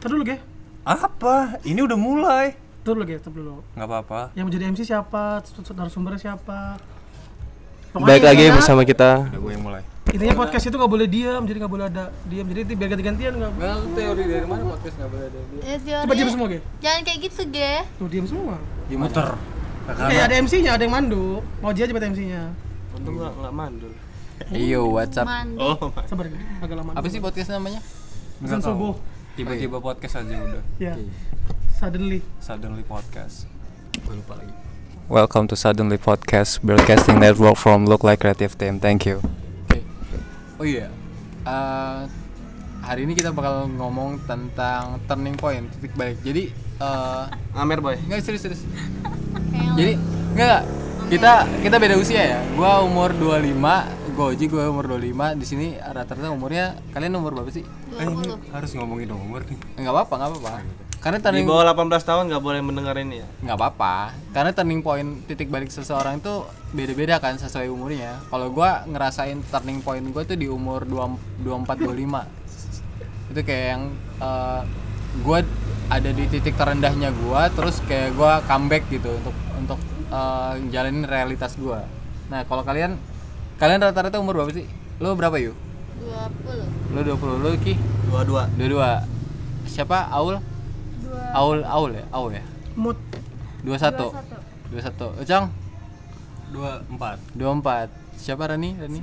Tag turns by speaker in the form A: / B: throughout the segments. A: Tar dulu, Ge.
B: Apa? Ini udah mulai.
A: Tar dulu, Ge. Tar dulu.
B: Nggak apa-apa.
A: Yang menjadi MC siapa? Terus Narasumbernya siapa? Pokoknya
C: Baik lagi
A: intinya-
C: bersama kita.
B: Udah gue yang mulai.
A: Intinya podcast itu nggak boleh diam, jadi nggak boleh ada diam. Jadi nanti biar ganti-gantian nggak boleh.
D: Well, teori dari mana podcast nggak boleh ada dia?
E: Ya, teori-
A: Coba diam semua, Ge.
E: Jangan kayak gitu, Ge.
A: Tuh diam semua.
B: Muter.
C: Nah,
A: Kayak ada MC-nya, ada yang mandu. Mau dia coba MC-nya.
D: Untung nggak nggak mandul.
C: Yo, what's up?
E: Mandi.
D: Oh,
A: Sabar, Ge. agak lama.
F: Apa sih podcast namanya?
A: Pesan subuh.
B: Tiba-tiba podcast aja udah.
A: Ya. Suddenly.
B: Suddenly podcast. Welcome to Suddenly Podcast Broadcasting Network from Look Like Creative Team. Thank you.
F: Oke. Oh iya. Eh, hari ini kita bakal ngomong tentang turning point, titik balik. Jadi eh
D: Amer boy.
F: enggak serius serius.
E: Kayak
F: Jadi enggak kita kita beda usia ya. Gua umur 25, Goji gua umur 25. Di sini rata-rata umurnya kalian umur berapa sih?
B: Eh, ini harus ngomongin nomor nih.
F: Enggak apa-apa, enggak apa-apa. Karena
D: Di
F: turning
D: bawah 18 tahun nggak boleh mendengar ini ya.
F: nggak apa-apa karena turning point titik balik seseorang itu beda-beda kan sesuai umurnya kalau gua ngerasain turning point gue tuh di umur 2 24 25 itu kayak yang gue ada di titik terendahnya gua terus kayak gua comeback gitu untuk untuk eh, jalanin realitas gua nah kalau kalian kalian rata-rata umur berapa sih lo berapa yuk
E: 20.
F: lo 20 lo ki
D: Dua-dua.
F: dua siapa Aul Aul Aul ya Aul ya
A: Mood.
F: 21 21 Ujang
B: Dua empat.
F: 24 Siapa Rani? Rani?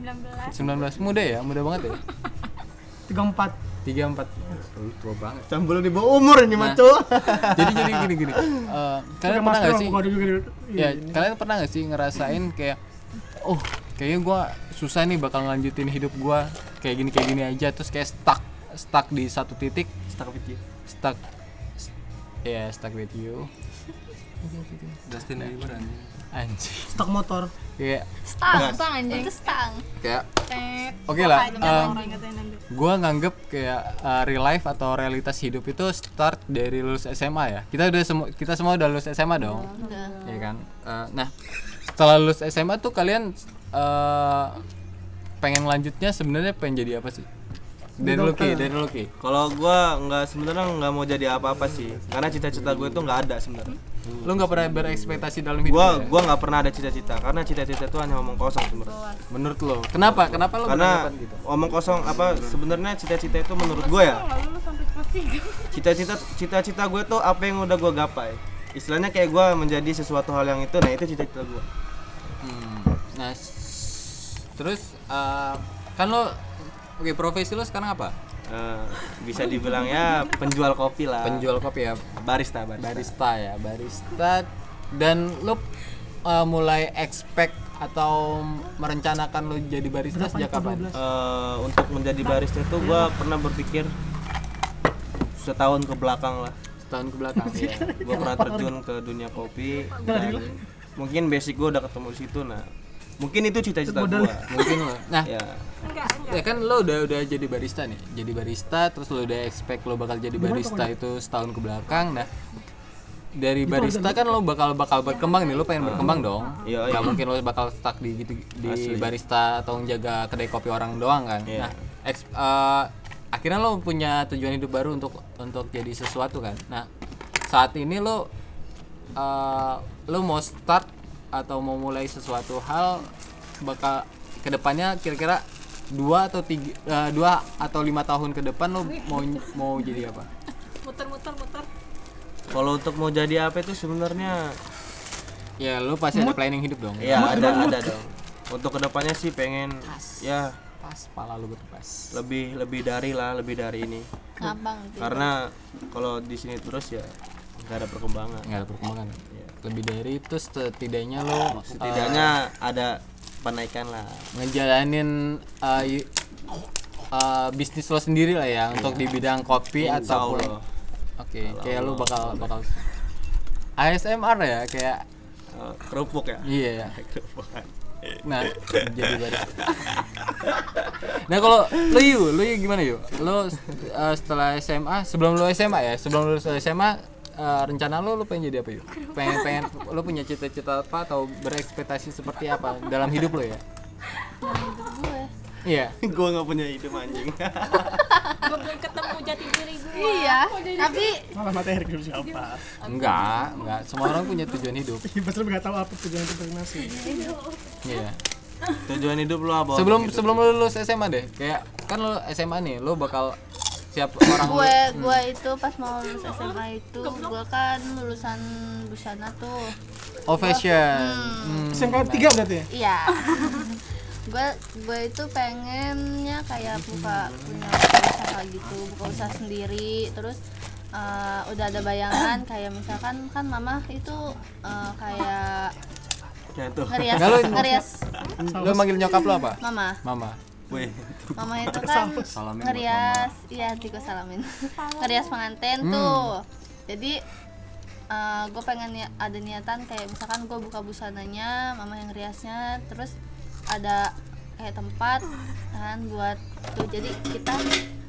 F: 19 19 Muda ya? Muda banget ya?
A: 34.
F: 34 Lu tua banget
D: Sambel di bawah umur ini maco.
F: Jadi jadi gini gini Eh, Kalian
A: Pakai
F: pernah
A: masker
F: gak
A: dong,
F: sih?
A: kalau ada juga Iya. di-
F: Ya, kalian pernah gak sih ngerasain kayak Oh kayaknya gua susah nih bakal ngelanjutin hidup gua Kayak gini kayak gini aja Terus kayak stuck Stuck di satu titik
D: Stuck with you.
F: Stuck st- Ya stuck with you
B: Dustin Bieber anjing.
F: Anjing
A: Stok motor.
F: Kayak
E: Stang, stang anjing. Itu stang.
F: Kayak Oke lah em, gua nganggep kayak uh, real life atau realitas hidup itu start dari lulus SMA ya kita udah semu- kita semua udah lulus SMA dong ya kan Eh, nah setelah lulus SMA tuh kalian eh, pengen lanjutnya sebenarnya pengen jadi apa sih dari lu Ki, dari lu Ki.
D: Kalau gua nggak sebenarnya nggak mau jadi apa-apa sih. Karena cita-cita gue tuh nggak ada sebenarnya.
F: lu nggak pernah berekspektasi dalam hidup
D: Gua
F: lu ya?
D: gua nggak pernah ada cita-cita karena cita-cita itu hanya omong kosong sebenarnya.
F: menurut lo kenapa kenapa lo
D: Karena
F: beranggapan gitu
D: omong kosong apa sebenarnya cita-cita itu menurut gue ya. Cita-cita cita-cita gue tuh apa yang udah gua gapai. Istilahnya kayak gua menjadi sesuatu hal yang itu, nah itu cita-cita gua
F: Hmm, nah s- terus eh, kan lo oke profesi lo sekarang apa
D: Eh, bisa dibilang ya penjual kopi lah
F: penjual kopi ya
D: barista barista,
F: barista ya barista dan lu uh, mulai expect atau merencanakan lu jadi barista sejak kapan?
D: Eh, untuk menjadi barista itu gua pernah berpikir setahun ke belakang lah
F: Setahun ke belakang ya.
D: gue pernah terjun ke dunia kopi dan mungkin basic gue udah ketemu di situ nah mungkin itu cita-cita gue
F: Mungkin lo. Nah,
D: ya
F: ya kan lo udah udah jadi barista nih. Jadi barista terus lo udah expect lo bakal jadi barista itu setahun ke belakang. Nah, dari barista kan lo bakal bakal berkembang nih, lo pengen berkembang dong.
D: Iya,
F: Gak
D: iya.
F: mungkin lo bakal stuck di gitu di
D: Asli.
F: barista atau jaga kedai kopi orang doang kan.
D: Iya.
F: Nah, eks- eh, akhirnya lo punya tujuan hidup baru untuk untuk jadi sesuatu kan. Nah, saat ini lo eh, lo mau start atau mau mulai sesuatu hal bakal kedepannya kira-kira dua atau tiga eh, dua atau lima tahun ke depan lo mau mau jadi apa?
D: kalau untuk mau jadi apa itu sebenarnya
F: Ya lo pasti ada planning hidup dong.
D: ya ada ada dong untuk kedepannya sih pengen ya
F: Pas pala lo berpas.
D: lebih lebih dari lah lebih dari ini
E: Ngabang gitu.
D: karena kalau di sini terus ya nggak ada perkembangan
F: Nggak ada perkembangan. Lebih dari itu Iya. setidaknya lo
D: setidaknya ada penaikan lah
F: ngejalanin uh, y- uh, bisnis lo sendiri lah ya untuk di bidang kopi ataupun
D: Allah.
F: oke kayak lo bakal bakal ASMR ya kayak
D: Eh, kerupuk ya
F: iya ya
D: kerupuk
F: nah jadi baris nah kalau lo yu lo Yu gimana yuk lo uh, setelah SMA sebelum lo SMA ya sebelum lo SMA uh, rencana lo lo pengen jadi apa yuk pengen pengen lo punya cita-cita apa atau berekspektasi seperti apa dalam hidup lo ya
E: Hidup gue.
F: iya
D: gue nggak punya hidup anjing
C: gue belum ketemu jati diri gue
E: Iya, tapi
G: malah mata Erick dulu siapa
F: Enggak, enggak. Semua orang punya tujuan hidup.
A: Iya,
G: Ibas lu nggak tahu apa tujuan itu masing
F: Iya.
D: Tujuan hidup lu apa?
F: Sebelum
D: Gitu.
F: sebelum lu lulus SMA deh. Kayak kan lu SMA nih, lu bakal siap orang
E: gue gue itu pas mau lulus SMA itu gue kan lulusan busana tuh.
F: oh fashion. Hmm,
G: SMK 3 berarti ya?
E: Iya. gue gue itu pengennya kayak buka punya usaha gitu, buka usaha sendiri, terus eh, udah ada bayangan kayak misalkan kan mama itu eh, kayak
D: Ya tuh.
E: ngerias
F: Enggak, lu-
E: ngerias
F: Lu manggil nyokap lu apa?
E: mama
F: Mama.
D: Weh,
E: mama itu kan
B: Salamin buat
E: ngerias iya nanti gua salamin ngerias pengantin
B: Hmm.
E: tuh jadi gue pengen ni- ada niatan kayak misalkan gue buka busananya mama yang riasnya terus ada kayak tempat kan buat tuh jadi kita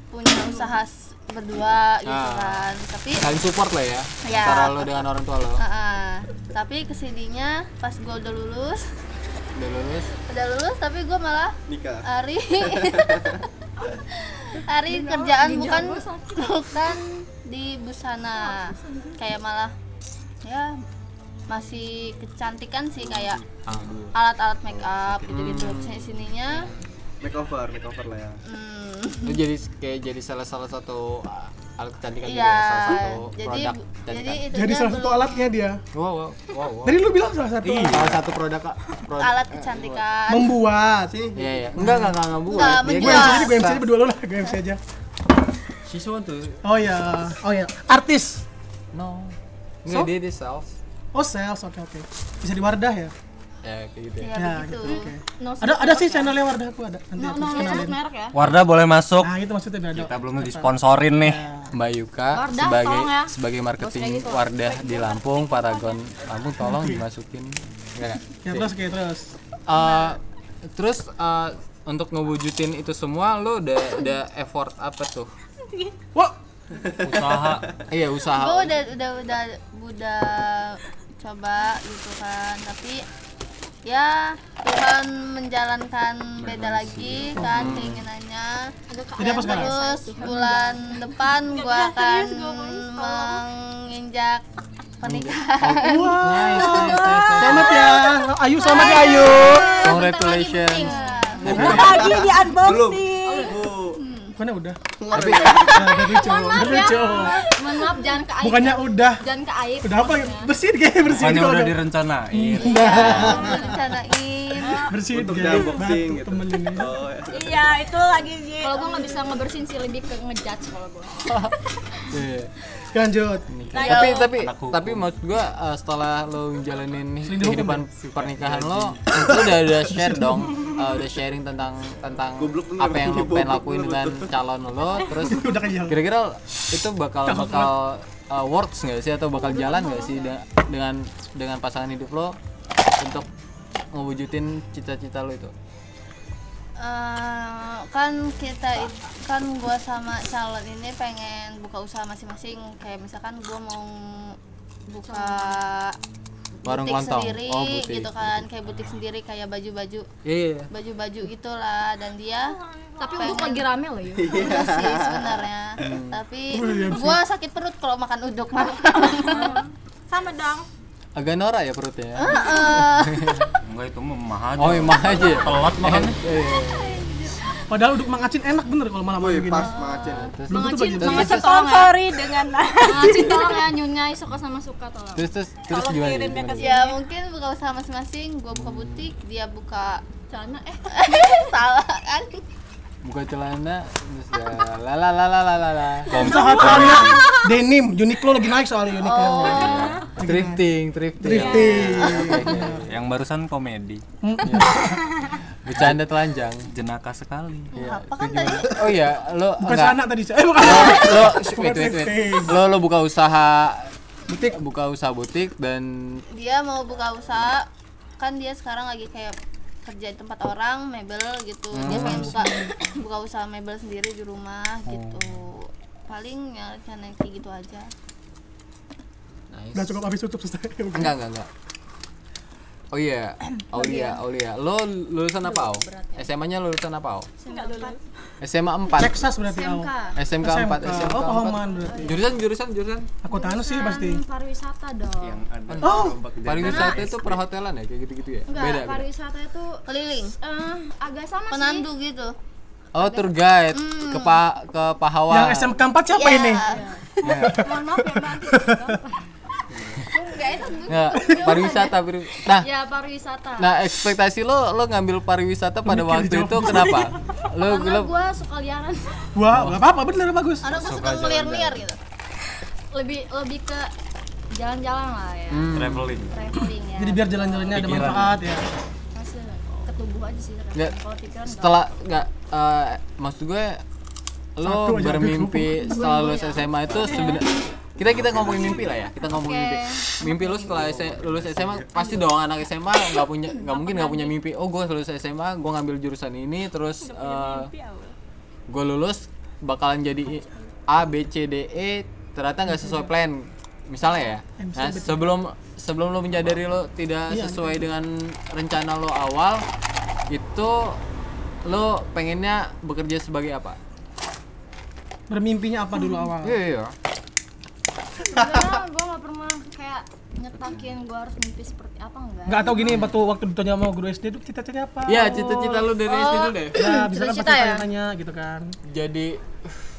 E: punya usaha s- berdua gitu
F: Ah.
E: kan tapi
F: Saling support lah ya.
E: Iya.
F: Antara lu dengan orang tua
B: Ah.
F: lu.
E: Heeh. tapi kesininya pas gue udah lulus
F: Udah lulus.
E: udah lulus tapi gue malah
D: nikah.
E: Ari Ari kerjaan bukan bukan di busana kayak malah ya masih kecantikan sih kayak
F: Aduh.
E: alat-alat
F: Oh,
E: make up gitu-gitu Sini- sininya
D: Makeover, makeover lah ya.
E: hmm,
F: Lu jadi kayak jadi salah salah satu uh, alat kecantikan juga
E: iya
F: ya, salah satu
E: jadi
F: produk
E: bu- jadi
F: kecantikan.
E: itu
G: Jadi salah satu alatnya dia
F: Wow, wow, wow. wow.
G: Tadi lu bilang salah satu alat.
F: Salah satu produk Kak. Produk-
E: Iya. alat
F: eh,
E: kecantikan
G: Membuat
D: Sini.
F: Iya, iya. Enggak, enggak, enggak, enggak buat. Dia
E: Enggak,
G: Gue
E: menjual.
G: MC
F: kan-
G: aja, gue MC aja berdua lu lah, gue MC aja
D: Siswa tuh.
G: Oh iya, oh iya, artis
F: No. Enggak,
G: So?
F: dia dia sales.
G: Oh sales, oke oke Bisa di Wardah ya?
F: Ya, kayak gitu.
C: Iya.
E: ya,
F: ya.
E: begitu
G: oke. Ada ada sih channelnya Wardah aku ada Nanti aku kenalin
C: merek ya
B: Wardah boleh masuk.
G: Nah itu maksudnya biar ada
B: Kita belum disponsorin nih.
F: Mbak Yuka
C: Wardah,
F: sebagai
C: tolong ya.
F: sebagai marketing
C: gitu.
F: Wardah di Lampung, Paragon Lampung tolong dimasukin. Enggak.
G: Ya terus kayak terus
F: Eh, terus eh, untuk ngewujudin itu semua lo udah udah effort apa tuh?
G: Wah,
B: Usaha.
F: Iya, usaha.
E: gue udah udah udah udah coba gitu kan tapi ya Tuhan menjalankan beda lagi kan keinginannya
G: Jadi apa
E: Dan
G: sekarang?
E: terus bulan depan gue akan menginjak pernikahan
F: Nice, nice, nice, nice.
G: selamat ya Ayu selamat ya Ayu
F: Congratulations.
C: lagi di
D: Belum.
C: unboxing
D: Bu,
G: Bukannya udah
F: Tapi
G: Udah lucu, udah lucu
C: ya. mohon maaf jangan ke aib ya.
G: Bukannya udah
C: jangan ke aib
G: Udah apa? Bersihin kayaknya, bersihin
B: Bukannya
G: kalau
B: udah
G: udah
B: direncanain.
E: rencanain
G: Bersihin
D: untuk
G: kayak
D: unboxing
G: batuk
D: gitu.
G: temen ini
D: Oh, ya.
C: iya itu lagi di kalau gue nggak bisa ngebersihin sih lebih ke ngejudge kalau gue
F: Iya.
G: Lanjut
F: tapi tapi tapi maksud gua eh, setelah lo jalanin kehidupan pernikahan lo, lo udah udah share dong, eh, udah sharing tentang tentang
D: Goblok bener,
F: apa yang lo
D: goblok
F: pengen lakuin
D: bener.
F: dengan calon lo, terus
G: Udah kenyal
F: kira-kira itu bakal bakal eh, works nggak sih atau bakal jalan nggak sih de- dengan dengan pasangan hidup lo untuk ngewujudin cita-cita lo itu?
E: Eh, kan kita it- kan gua sama calon ini pengen buka usaha masing-masing kayak misalkan gua mau buka
F: Warung
E: butik
F: lontong.
E: sendiri
F: Oh, butik.
E: gitu kan kayak butik sendiri kayak baju-baju
F: Iya.
E: baju-baju gitulah dan dia
C: tapi uduk lagi rame loh ya. yuk
E: udah
F: Iya.
E: sih sebenarnya
F: Hmm.
E: tapi gua sakit perut kalau makan uduk malam
C: sama dong
F: Agak norak ya perutnya. ya?
B: Enggak itu memah aja.
F: Oh, emang aja. ya?
B: Telat makannya.
G: Padahal uduk mangacin enak bener kalau malam-malam
D: Wih,
G: gini
D: pas mangacin.
F: Terus,
G: Belum tentu bagi
F: terus, terus,
C: sponsori dengan Ngaci tolong ya nyunyai suka sama suka tolong
F: terus, terus, terus
C: Tolong
F: gimana?
C: kirimnya
F: gimana?
C: ke
E: ya mungkin buka usaha masing-masing gua buka butik dia buka
C: celana eh
E: salah kan
F: Iya. buka celana terus ya la la la la la la la
G: Usaha celana denim, Uniqlo lagi naik soalnya Uniqlo
F: thrifting thrifting Iya,
G: Thrifting.
F: Oke, oke.
B: Yang barusan komedi.
F: bercanda telanjang
B: Jenaka sekali.
E: apa kan tadi
F: oh iya lo
G: Bukan
F: enggak.
G: celana tadi, eh bukan
F: lo wait, wait, wait.
G: thrifting.
F: lo lo buka usaha butik buka usaha butik dan
E: dia mau buka usaha kan dia sekarang lagi kayak kerja di tempat orang mebel gitu dia pengen buka buka usaha mebel sendiri di rumah gitu paling ya rencana kayak gitu aja
G: Udah cukup habis tutup selesai
F: enggak enggak enggak oh iya Aulia Aulia lo lulusan apa au SMA nya lulusan apa au
C: nggak lulus
F: SMA 4
G: Texas berarti oh. kau.
F: SMK
C: SMK.
F: 4 SMK
G: Oh, pahaman berarti.
F: jurusan jurusan jurusan
G: Aku tanu sih pasti.
C: Kan pariwisata dong.
F: Iya,
G: Oh,
F: pariwisata itu perhotelan ya kayak gitu-gitu ya
C: Enggak,
F: beda beda
C: pariwisata itu
E: keliling
C: eh, agak sama
E: penandu gitu
F: oh tour guide ke pa ke Pahawa
G: yang SMK 4 siapa
E: Ya.
G: ini?
C: sih. Mohon maaf ya, Mbak. Enggak itu.
F: Nggak, pariwisata pari- nah
C: Iya, kan? Ya pariwisata.
F: nah ekspektasi lo lo ngambil pariwisata pada waktu itu kenapa lo
C: Karena
F: lo
C: gue suka liaran
G: Wah, enggak apa-apa, bener bagus.
E: karena gue suka ngeliar-ngeliar gitu
C: lebih lebih ke jalan-jalan lah ya.
B: Hmm. traveling
C: Traveling ya.
G: Jadi biar jalan-jalannya ada manfaat ya.
C: Masih ke tubuh aja sih traveling.
F: Nggak,
C: Kalau pikiran nggak.
F: setelah nggak eh, maksud gue lo
G: Satu aja
F: bermimpi setelah lulus SMA itu sebenarnya kita kita ngomongin mimpi lah ya kita ngomongin mimpi mimpi lo setelah S- lulus SMA pasti dong anak SMA nggak punya nggak mungkin nggak punya mimpi oh gue lulus SMA gue ngambil jurusan ini terus eh, gue lulus bakalan jadi A B C D E ternyata nggak sesuai plan misalnya Iya, ya nah sebelum sebelum lo menyadari lo tidak sesuai dengan rencana lo awal itu lo pengennya bekerja sebagai apa
G: Bermimpinya apa dulu awal?
F: iya iya
C: Sebenarnya gue gak pernah kayak nyetakin gue harus mimpi seperti apa enggak.
G: Enggak tahu gini waktu waktu ditanya sama guru SD itu cita-citanya apa?
F: iya cita-cita lo dari SD dulu
G: Ya,
F: deh
G: bisa kan
E: Cita-cita
G: pasti
E: ya?
G: tanya gitu kan.
F: jadi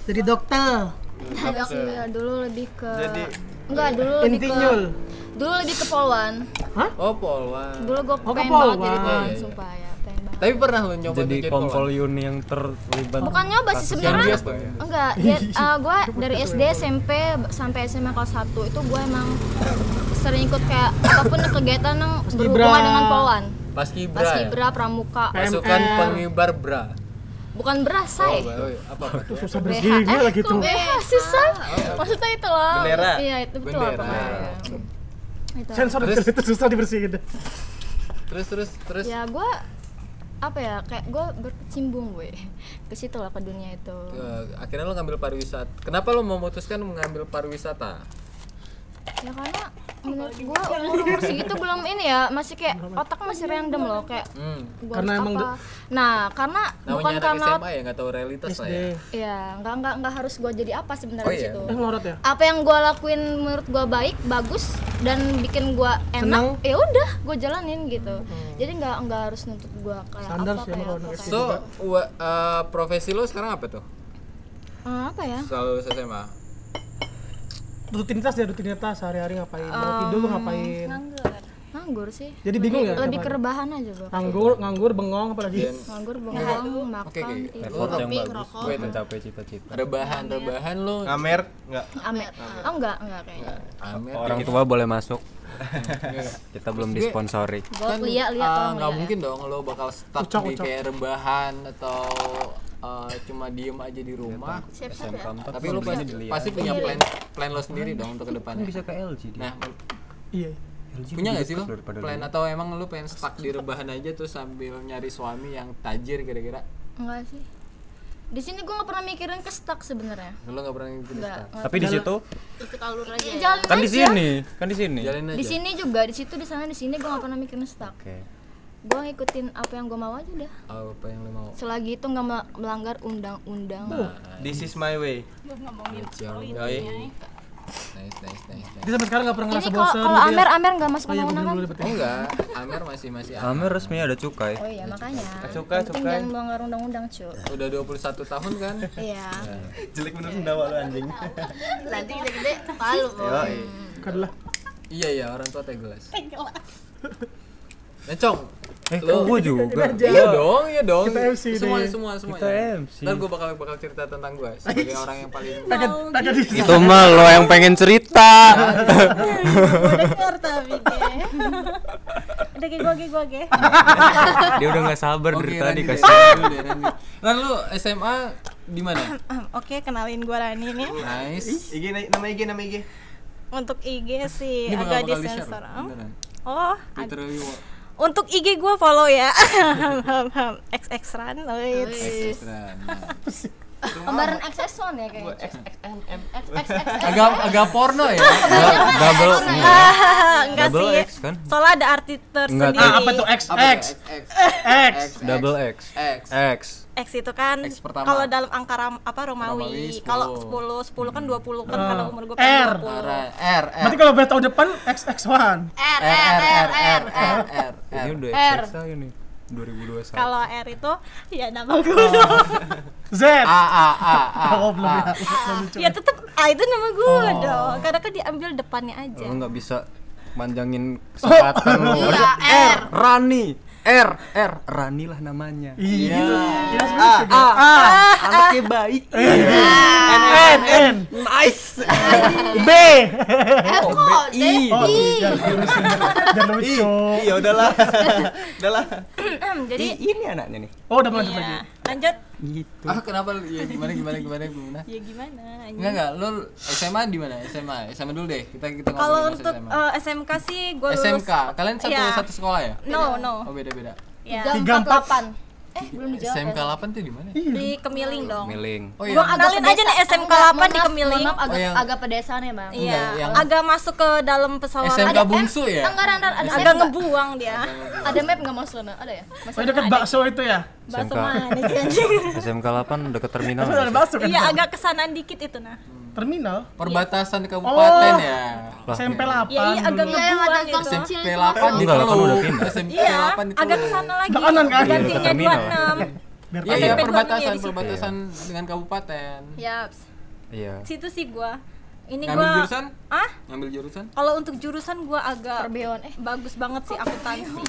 G: Jadi dokter,
C: Enggak, enggak, dulu lebih ke
D: Jadi
C: enggak dulu lebih ke
G: intinyul.
C: dulu lebih ke polwan.
F: oh polwan
C: Dulu gue
G: Oh, ke
C: pengen banget
G: polwan.
C: jadi
F: Iya,
C: polwan
F: iya.
C: sumpah ya, pengen banget.
F: tapi pernah lo nyoba
B: jadi
F: untuk
B: kompol Yuni yang terlibat
E: Oh.
C: Bukan nyoba sih
F: yang
C: sebenarnya.
F: dia apa ya?
C: Enggak, ya, eh, gue dari SD, SMP sampai SMA kelas 1 itu gue emang sering ikut kayak apapun kegiatan yang berhubungan
G: Ibra.
C: dengan polwan.
F: pas kibra ya?
C: Paskibra, pramuka,
F: pasukan pengibar bra
C: bukan berasai.
F: Oh, iya. apa apa tuh?
C: BH, eh, gitu. BH, susah. Maksudnya itu loh.
D: Bendera.
C: Iya, itu betul
F: Bendera.
C: apa
F: ya?
C: namanya. Itu.
G: sensor
F: Terus?
G: itu susah dibersihin.
F: terus terus terus
C: Ya, gue apa ya kayak gue berkecimbung gue ke situ lah ke dunia itu
F: Eh, akhirnya lo ngambil pariwisata. Kenapa lo memutuskan mengambil pariwisata?
C: ya karena menurut gue umur umur segitu belum ini ya masih kayak otak masih random loh kayak
F: Hmm.
C: gua
G: Karena
C: harus
G: emang
C: apa. nah karena bukan
F: Namanya anak
C: karena
F: SMA ya nggak tahu realitas lah ya.
G: SD.
C: ya nggak nggak nggak harus gue jadi apa sebenarnya
F: Oh,
C: di
F: iya.
C: situ
G: Eh, ngelorot ya?
C: apa yang gue lakuin menurut gue baik bagus dan bikin gue
G: Senang. Hmm.
C: enak ya udah gue jalanin gitu jadi nggak nggak harus nuntut gue kayak
G: Standar
C: apa
G: sih
C: kayak
G: emang
C: apa,
G: kalau anak
C: kayak-
F: So, wa- eh, profesi lo sekarang apa tuh?
C: Eh, apa ya
F: Setelah lulus SMA.
G: Rutinitas ya rutinitas sehari-hari ngapain? Mau tidur ngapain?
C: Oh, nganggur sih
G: Jadi bingung ya?
C: lebih
G: ngapain?
C: kerebahan aja gue
G: nganggur, nganggur, bengong apalagi.
F: Dan
C: nganggur bengong makan
F: oke,
C: tidur
B: effort yang
E: Kopi,
B: bagus
E: ngerokok.
B: buat mencapai cita-cita
F: rebahan, rebahan lo.
D: Amer enggak.
C: ame oh enggak enggak kayaknya
F: Amer.
C: Oh,
B: orang tua boleh masuk kita belum disponsori
C: gue lihat
F: eh,
C: lihat orang
F: nggak
C: liat ya.
F: mungkin dong lo bakal stuck
G: Ucok,
F: di
G: ucok.
F: kayak rebahan atau eh, cuma diem aja di rumah.
E: siap-siap ya
F: Tapi lo pasti, pasti punya plan plan lo sendiri dong untuk kedepannya.
B: bisa ke LG dia.
F: Nah,
G: Iya.
F: punya nggak sih lo
B: daripada
F: plan atau emang lo pengen stuck di rebahan aja terus sambil nyari suami yang tajir kira-kira?
C: Enggak sih. Di sini gue nggak pernah mikirin ke stuck sebenarnya.
F: Lo nggak pernah gitu ngikutin stuck.
B: tapi di situ
C: Ya, jalan
B: kan di
C: aja.
B: sini kan di sini
F: Jalin
G: iya.
F: aja.
C: Di sini juga, di situ, di sana, di sini gue nggak pernah mikirin stuck.
B: oke
C: Gue ngikutin apa yang gue mau aja dah.
F: apa yang lo mau?
C: Selagi itu nggak mel- melanggar undang-undang.
D: This is my way.
F: Yoi. Nice, nice, nice. nice.
G: Dia sampai sekarang nggak pernah
C: Ini
G: ngerasa
C: kalau
G: bosan.
A: gitu ya?
C: kalau Amer Amer nggak masuk
G: Oh iya, bener
C: undang-undang
G: dulu
C: kan?
G: dapetin.
F: Oh enggak, Amer masih masih Amer.
B: Amer resmi ada cukai
C: Oh iya makanya.
D: cukai,
C: Yang penting
D: cukai.
C: jangan melanggar undang-undang cu.
F: Udah 21 tahun kan?
C: Iya.
D: Jelek bener sendawa lu anjing.
E: nanti gede-gede palu
D: Yoi.
G: Bukan lah.
F: iya iya, orang tua tegelas. Nencong.
B: eh kok gua juga
F: Iya dong, iya dong.
G: Kita MC
F: semua,
G: deh.
F: semua, semua.
B: Kita
F: ya.
B: MC.
F: Ntar gue bakal bakal cerita tentang gue sebagai orang yang paling
G: Kagak di
B: itu mah lo yang pengen cerita
H: Dengar tapi ge. Udah ge gue ge gue ge.
B: dia udah nggak sabar dari tadi
F: Oke, Randy
B: kasih
F: deh, Randy deh, Randy. Ran lu SMA di mana?
H: Ahem, Ah, Oke kenalin gue Rani nih.
F: Nice.
D: IG na- nama IG nama IG.
H: Untuk IG sih
F: Ini bakal
H: agak di
F: bakal di-share.
H: sensor.
F: loh, beneran.
H: Oh,
F: Literally wa-
H: untuk IG
F: iya.
H: gue follow ya. XX Ran. oh, it's-
F: extra. Nah.
C: Kembaran XS1 ya kayaknya. XXXX.
F: agak agak porno ya
B: double
H: Ah, enggak
B: Double
H: sih.
B: X kan?
H: Soalnya ada arti tersendiri.
B: tahu.
A: Ah, apa tuh X X X.
B: double X
F: X.
B: X
H: X itu kan
F: X pertama.
H: kalau dalam angka ram- apa Romawi,
F: Romawi Hmm.
H: kalau 10 10 kan 20 kan kalau umur gue kan
A: R.
H: 20.
F: R R R
A: Berarti kalau gue tahun depan XX1.
E: R R R R R
F: R
B: ini
F: R
B: udah X aja nih 2021
H: Kalau R itu ya nama gue dong.
A: Z.
F: A A A A
A: Oh, belum ya.
H: ya tetap A itu nama gue dong. Karena kan diambil depannya aja.
B: lo nggak bisa manjangin kesempatan lo
E: Iya, R.
B: Rani R R Rani lah namanya
A: Iya.
B: A A A anaknya baik
A: N N.
B: nice
A: B.
E: F kok D
A: Oh, jangan lucu. Jangan lucu.
G: Oh.
D: Iya udahlah. udahlah.
H: Jadi
B: I- ini anaknya nih
A: Oh, udah mulai lagi.
H: ya,
C: Iya.
H: lanjut
B: gitu
F: Ah kenapa lu? Ya gimana gimana gimana gimana?
H: ya gimana anjing.
F: Enggak enggak, lu SMA di mana? SMA, SMA dulu deh. Kita kita
H: Kalau
F: ngobrolin masa
H: untuk
F: SMA.
H: eh, SMK sih gue lulus
F: SMK, kalian satu
H: Iya.
F: satu sekolah ya?
H: No, no.
F: Oh beda-beda.
H: Ya.
A: Iya. Tiga, empat.
E: 348. Eh, belum dijawab.
F: SMK 8 tuh di mana? ya?
H: Di Kemiling dong.
B: miling
F: Oh
H: Gua agak- Kenalin aja nih,
E: pedesa-
H: SMK
E: Enggak,
H: 8
E: mohon
H: di
E: maaf, mohon
H: Kemiling.
E: Maaf, agak,
G: iya.
F: Oh, yang-
E: agak pedesaan ya, Bang.
H: Iya,
F: Enggak, yang-
H: agak masuk ke dalam pesawat.
F: SMK
E: Ada
F: bungsu ya?
E: Enggak, enggak, enggak, ada map
H: Agak
E: nggak?
H: ngebuang dia.
E: Ada map enggak masuk sana? Ada ya? Masih
A: Oh, deket bakso itu ya.
H: Bakso
B: SMK.
H: mana sih anjing?
B: SMK 8 dekat terminal
A: Itu ada bakso kan.
H: Iya, agak kesanaan dikit itu nah.
F: Hmm.
A: Terminal.
F: Perbatasan
A: Oh.
F: kabupaten ya.
A: SMP 8
H: Ya iya agak
A: dulu.
E: yang ada
H: ngebuang
E: tong
H: itu.
E: kecil.
F: SMP
E: itu
B: Enggak,
F: 8 di
B: kan
F: Teluk.
B: udah pindah.
F: SMP
H: Iya,
F: 8 di
H: agak
F: Teluk.
H: kesana lagi.
A: Ke kanan kan?
B: Iya,
H: Gantinya
B: dekat terminal.
H: 26.
A: Biar
F: Iya,
A: tahu.
F: iya,
H: SMP
F: perbatasan
H: doang ya di situ.
F: perbatasan dengan kabupaten.
H: Yaps.
B: iya
H: Situ sih gua. Ini
F: Ngambil
H: gua
F: jurusan?
H: Ah?
F: Ngambil jurusan?
H: Kalau untuk jurusan gua agak
E: Perbeon eh.
H: bagus banget sih akuntansi.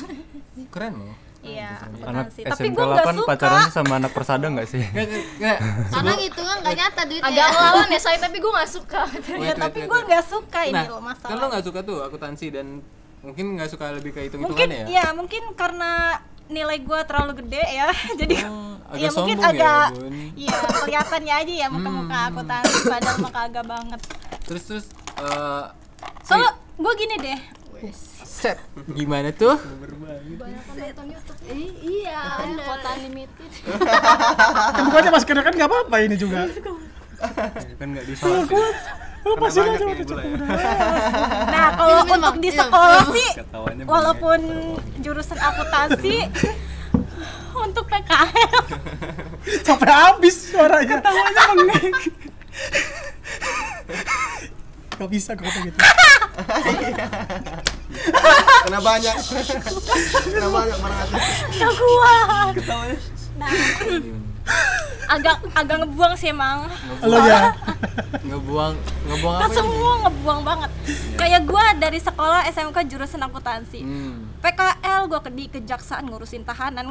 F: Keren loh.
H: Iya,
B: anak
H: akuntansi. Tapi
B: SMK
H: gua enggak
B: 8
H: suka. Iya,
B: pacaran sama anak persada nggak sih
F: Enggak enggak, enggak.
E: Karena gitu kan enggak nyata duitnya.
C: Agak melawan ya saya tapi gue gak suka.
H: Ya,
F: Wait, wait,
H: tapi
F: wait,
H: gua
F: wait.
H: enggak suka ini
F: Nah,
H: loh
F: kan lo
H: masalah.
F: nggak suka tuh akuntansi dan mungkin nggak suka lebih ke hitung
H: Mungkin
F: hitungan ya?
H: ya, mungkin karena nilai gua terlalu gede ya. Jadi
F: agak
H: ya mungkin
F: sombong ya,
H: agak
F: Bun. Hmm.
H: iya kelihatannya aja ya muka-muka akuntansi padahal mah kagak banget.
F: Terus terus eh
H: Soalnya gua gini deh.
F: set gimana tuh?
E: Iya, ada. Kota limited.
A: Kan gua aja maskernya kan enggak apa-apa ini juga. Iya,
B: kan nggak disalahkan
A: Oh, pasti
D: banyak
A: aja
D: ini
A: udah
D: gula
A: cukup.
D: ya.
H: Nah, kalau
E: Minum,
H: untuk
E: Bang.
H: di
E: Minum,
H: sekolah sih
B: ketawanya
H: walaupun jurusan akuntansi untuk PKL
A: Sampai habis suaranya. Ketawanya mengek. Gak bisa kok gitu.
D: Kena banyak. Kena banyak marah
H: nggak kuat. Nah, agak agak ngebuang sih emang.
A: Lo ya.
F: Ngebuang ngebuang
H: Ke
F: apa? ya?
H: Kan semua ngebuang banget. Kayak gua dari sekolah SMK jurusan akuntansi.
F: Hmm.
H: PKL gua ke di kejaksaan ngurusin tahanan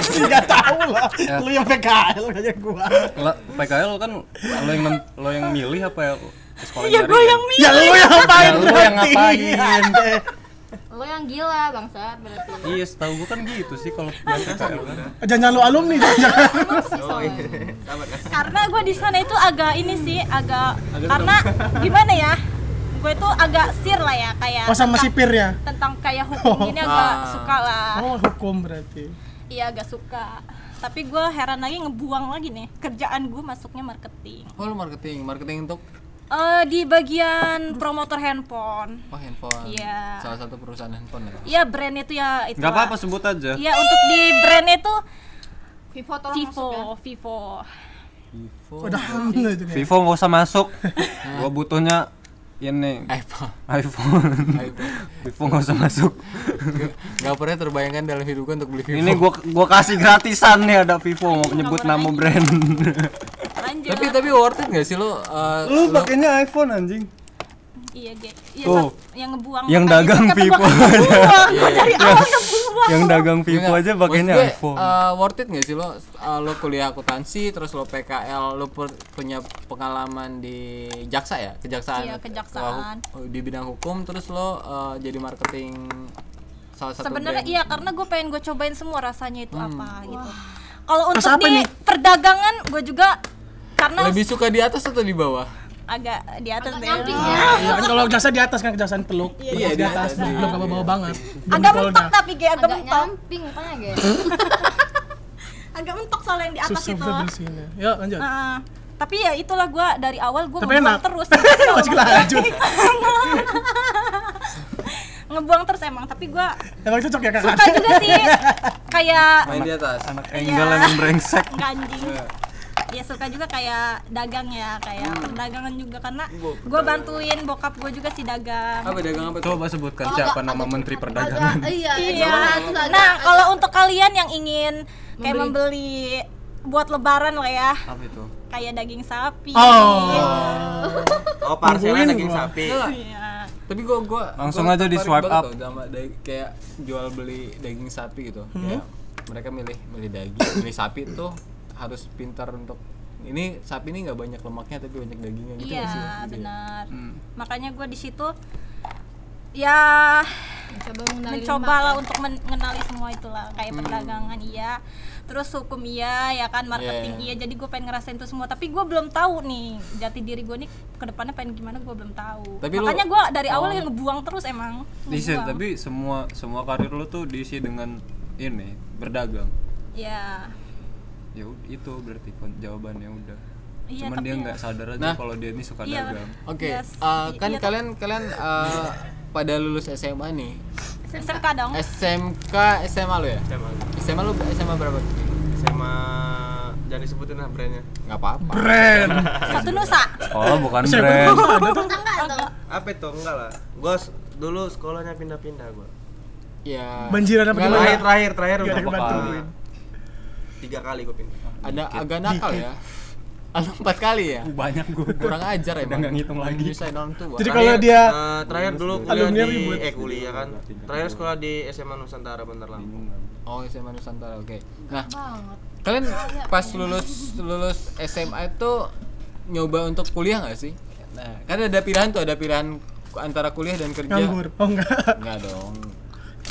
A: Enggak tahu lah. Lo yang PKL kayak gua.
B: Lah, PKL kan lo yang nem- lo yang milih apa ya sekolah
H: ya gua yang mi.
A: Ya lo yang ngapain?
B: Ya, lo yang
A: berarti?
B: ngapain?
E: Lo yang gila, bangsat berarti.
B: Iya, setahu gua kan gitu sih kalau yang PKL kan.
A: Jangan lo alumni. jangan.
D: Oh iya. Tamat
A: Ya.
D: kan.
H: Karena gua di sana itu agak ini sih, agak karena gimana ya? Gue itu agak sir lah ya kayak
A: Oh sama
H: tentang-
A: sipirnya.
H: tentang kayak hukum gini agak suka lah.
A: Oh hukum berarti.
H: Iya agak suka. Tapi gua heran lagi ngebuang lagi nih kerjaan gue masuknya marketing.
F: Oh lu marketing, marketing untuk
H: Eh di bagian promotor handphone.
F: oh handphone.
H: Iya.
F: Salah satu perusahaan handphone ya.
H: Iya brand itu ya itu.
B: Enggak apa-apa sebut aja.
H: Iya untuk di brand itu
E: Vivo tolong
H: Vivo,
E: masuk ya.
H: Vivo.
A: Udah hamil itu dia.
B: Vivo nggak usah masuk. Gua butuhnya ini
F: iPhone.
B: iPhone.
F: Eh. iPhone.
B: Vivo nggak usah masuk.
F: Gak- Gak pernah terbayangkan dalam hidup gue untuk beli Vivo.
B: Ini gua gua kasih gratisan nih ada Vivo mau nyebut nama brand.
H: Lanjut.
F: tapi tapi worth it gak sih lo? eh,
B: Lu pakainya iPhone anjing.
H: Iya, Ge. Iya,
B: Tuh.
H: Sat, yang ngebuang.
B: Yang
H: Tadi
B: dagang
H: kan kata gua
B: Vivo.
H: kan ngebuang. Gua dari awal ngebuang.
B: Yang dagang Vivo
F: Enggak,
B: aja
F: maksud
B: pakainya
F: gue,
B: iPhone.
F: eh, worth it gak sih lo eh, lo kuliah akuntansi terus lo PKL lo per- punya pengalaman di jaksa ya kejaksaan
H: Iya,
F: eh,
H: kejaksaan.
F: eh, di bidang hukum terus lo eh, jadi marketing salah satu
H: Sebenarnya
F: brand.
H: iya karena gue pengen gue cobain semua rasanya itu apa gitu. Kalau
A: Rasa
H: untuk
A: apa
H: di
A: nih?
H: perdagangan gue juga karena
F: lebih suka di atas atau di bawah
H: agak di atas deh.
G: ya?
A: Iya kan kalau jasa di atas kan kejaksaan peluk.
F: Iya,
A: di
F: di
A: atas.
F: atas,
A: nih,
F: iya.
A: Belum bawa bawa banget.
H: Agak
A: Jempolnya.
H: mentok tapi Ge agak
E: Agak
H: mentok.
E: nyamping, tanya gak?
H: agak mentok soal yang di atas
G: susah
H: itu
G: bisa bersihinnya ya lanjut
H: Heeh. tapi ya itulah gue dari awal gue
G: Tapi
H: ngebuang
G: enak.
H: terus
G: masih lanjut
H: ngebuang terus emang tapi gue
G: emang cocok ya kakak
H: suka juga sih kayak
F: main di atas anak
H: enggal emang
F: brengsek
H: nggak anjing ya suka juga kayak dagang ya kayak
F: Hmm.
H: perdagangan juga karena gue bantuin bokap gue juga sih dagang
F: apa dagang apa coba sebutkan siapa nama menteri perdagangan
E: agak iya terus
H: Iya.
F: ya?
E: agak-
H: Nah, kalau untuk kalian yang ingin kayak membeli buat lebaran lah ya,
F: apa itu
H: kayak daging sapi.
D: Oh, parselan
G: Nungguin
D: daging
G: gua.
D: sapi.
H: Iya.
F: tapi gua gua
B: Langsung
F: gua
B: aja di
F: tertarik
B: swipe
F: banget
B: up.
F: tuh sama da- kayak jual beli daging sapi gitu
B: Hmm?
F: Kayak mereka milih milih daging milih sapi tuh harus pintar untuk ini sapi ini nggak banyak lemaknya tapi banyak dagingnya gitu
H: Iya,
F: nggak sih? Gitu ya?
H: benar.
B: Hmm.
H: Makanya gue di situ ya
C: Coba mengenali
H: mencoba lah untuk mengenali semua itulah kayak
F: Hmm.
H: perdagangan iya terus hukum iya ya kan marketing
F: Iya, iya.
H: iya jadi gue pengen ngerasain itu semua tapi gue belum tahu nih jati diri gue nih kedepannya pengen gimana gue belum tahu
F: Tapi lu-
H: makanya gue dari awal
F: Oh.
H: yang ngebuang terus emang
B: Diisi,
H: Ngebuang.
B: tapi semua semua karir lu tuh diisi dengan ini berdagang.
H: ya
B: Ya ud- itu berarti kon- jawabannya udah.
H: Iya,
B: Cuman
H: tapi
B: dia
H: ya.
B: nggak sadar aja
F: Nah.
B: kalau dia ini suka
H: Iya.
B: dagang.
F: oke
H: Yes.
F: eh, kan
H: Iya, tapi-
F: kalian kalian eh, pada lulus SMA nih
H: SMK dong
F: SMK SMA lu ya
D: SMA.
F: SMA lu SMA berapa
D: SMA jangan disebutin lah brandnya.
F: nggak apa-apa
H: satu nusa
B: Oh, bukan brand.
D: Apa itu? Enggak lah. Gua s- dulu sekolahnya pindah-pindah gua.
F: ya
G: Banjiran apa
F: Nggak
G: gimana?
F: lah,
D: Terakhir terakhir terakhir
G: Gak ada
D: berapa
G: kebantu
D: kali?
G: duit.
D: Tiga kali gua pindah.
F: ada agak nakal ya ada empat kali ya
B: Banyak gue.
F: kurang ajar emang
B: nggak ngitung lagi.
F: Menyusahkan orang tua.
G: Jadi kalau
D: Terakhir,
G: dia-
D: eh, terakhir dulu kuliah
G: Alumni
D: di
G: ribut.
D: eh kuliah kan. Terakhir sekolah di SMA Nusantara bener lah.
F: oh SMA Nusantara oke nah kalian
E: Oh, iya,
F: pas lulus lulus SMA itu nyoba untuk kuliah nggak sih nah kan ada pilihan tuh ada pilihan antara kuliah dan kerja
G: nganggur oh enggak
F: nggak dong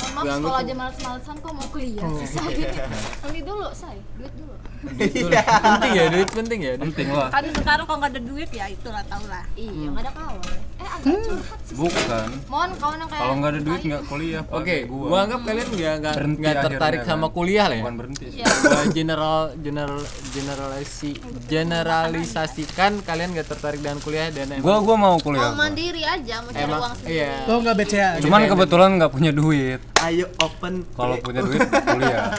C: Mohon maaf
F: Ganggu
C: sekolah
F: tuh.
C: aja males-malesan kok mau kuliah
E: Oh.
C: susah gitu. Beli dulu, say. Duit dulu.
F: Duit dulu. penting ya duit penting ya duit
B: Penting lah.
H: kan sekarang kalau nggak ada duit ya itulah tau lah
C: Iya,
E: Hmm.
C: nggak ada kawan. Eh, agak curhat sih.
B: Bukan.
C: Mohon kawan yang kayak
B: Kalau nggak ada duit
C: Tai.
B: nggak kuliah. Pak.
F: oke gua anggap kalian nggak nggak
B: Berhenti
F: nggak tertarik
B: akhirnya kan.
F: sama kuliah lah ya
B: Bukan berhenti.
E: Iya.
B: sih.
F: Gua general general generalisi generalisasikan kalian nggak tertarik dengan kuliah dan emang
B: Gua gua mau kuliah.
E: mau
B: gua.
E: mandiri aja mau cari
F: emang
E: uang sendiri
F: iya
A: Oh,
G: lo enggak BCA
B: Cuman kebetulan nggak punya duit.
D: Ayo open.
B: Kalau punya duit kuliah.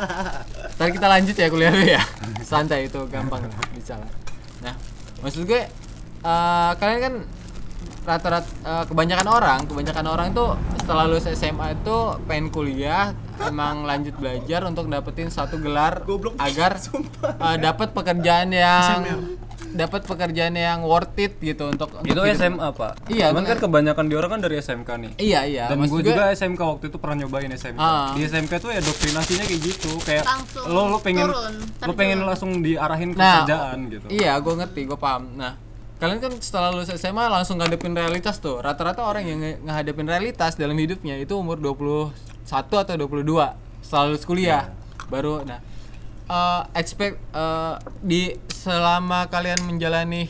F: Ntar kita lanjut ya kuliah lu ya. Santai itu gampang lah, bisa lah. Nah, maksud gue eh, kalian kan rata-rata eh, kebanyakan orang, kebanyakan orang tuh setelah lulus SMA itu pengen kuliah, emang lanjut belajar untuk dapetin satu gelar agar eh, dapat pekerjaan yang dapat pekerjaan yang worth it gitu untuk, untuk
B: Itu
F: hidup-
B: SMA, Pak.
F: Iya,
B: Cuman kan
F: bener.
B: kebanyakan di orang kan dari SMK nih.
F: Iya, iya.
B: Dan
F: maksud
B: gue juga SMK waktu itu pernah nyobain SMK.
F: Ah.
B: Di SMK tuh ya doktrinasinya kayak gitu, kayak
E: Langsung
B: lo lo pengen
E: turun,
B: lo pengen langsung diarahin ke
F: Nah,
B: kerjaan gitu.
F: Iya, gue ngerti, gue paham. Nah, kalian kan setelah lulus SMA langsung ngadepin realitas tuh. Rata-rata orang yang nge- ngehadapin realitas dalam hidupnya itu umur 21 atau 22 setelah lulus kuliah. Baru nah eh, expect eh, di selama kalian menjalani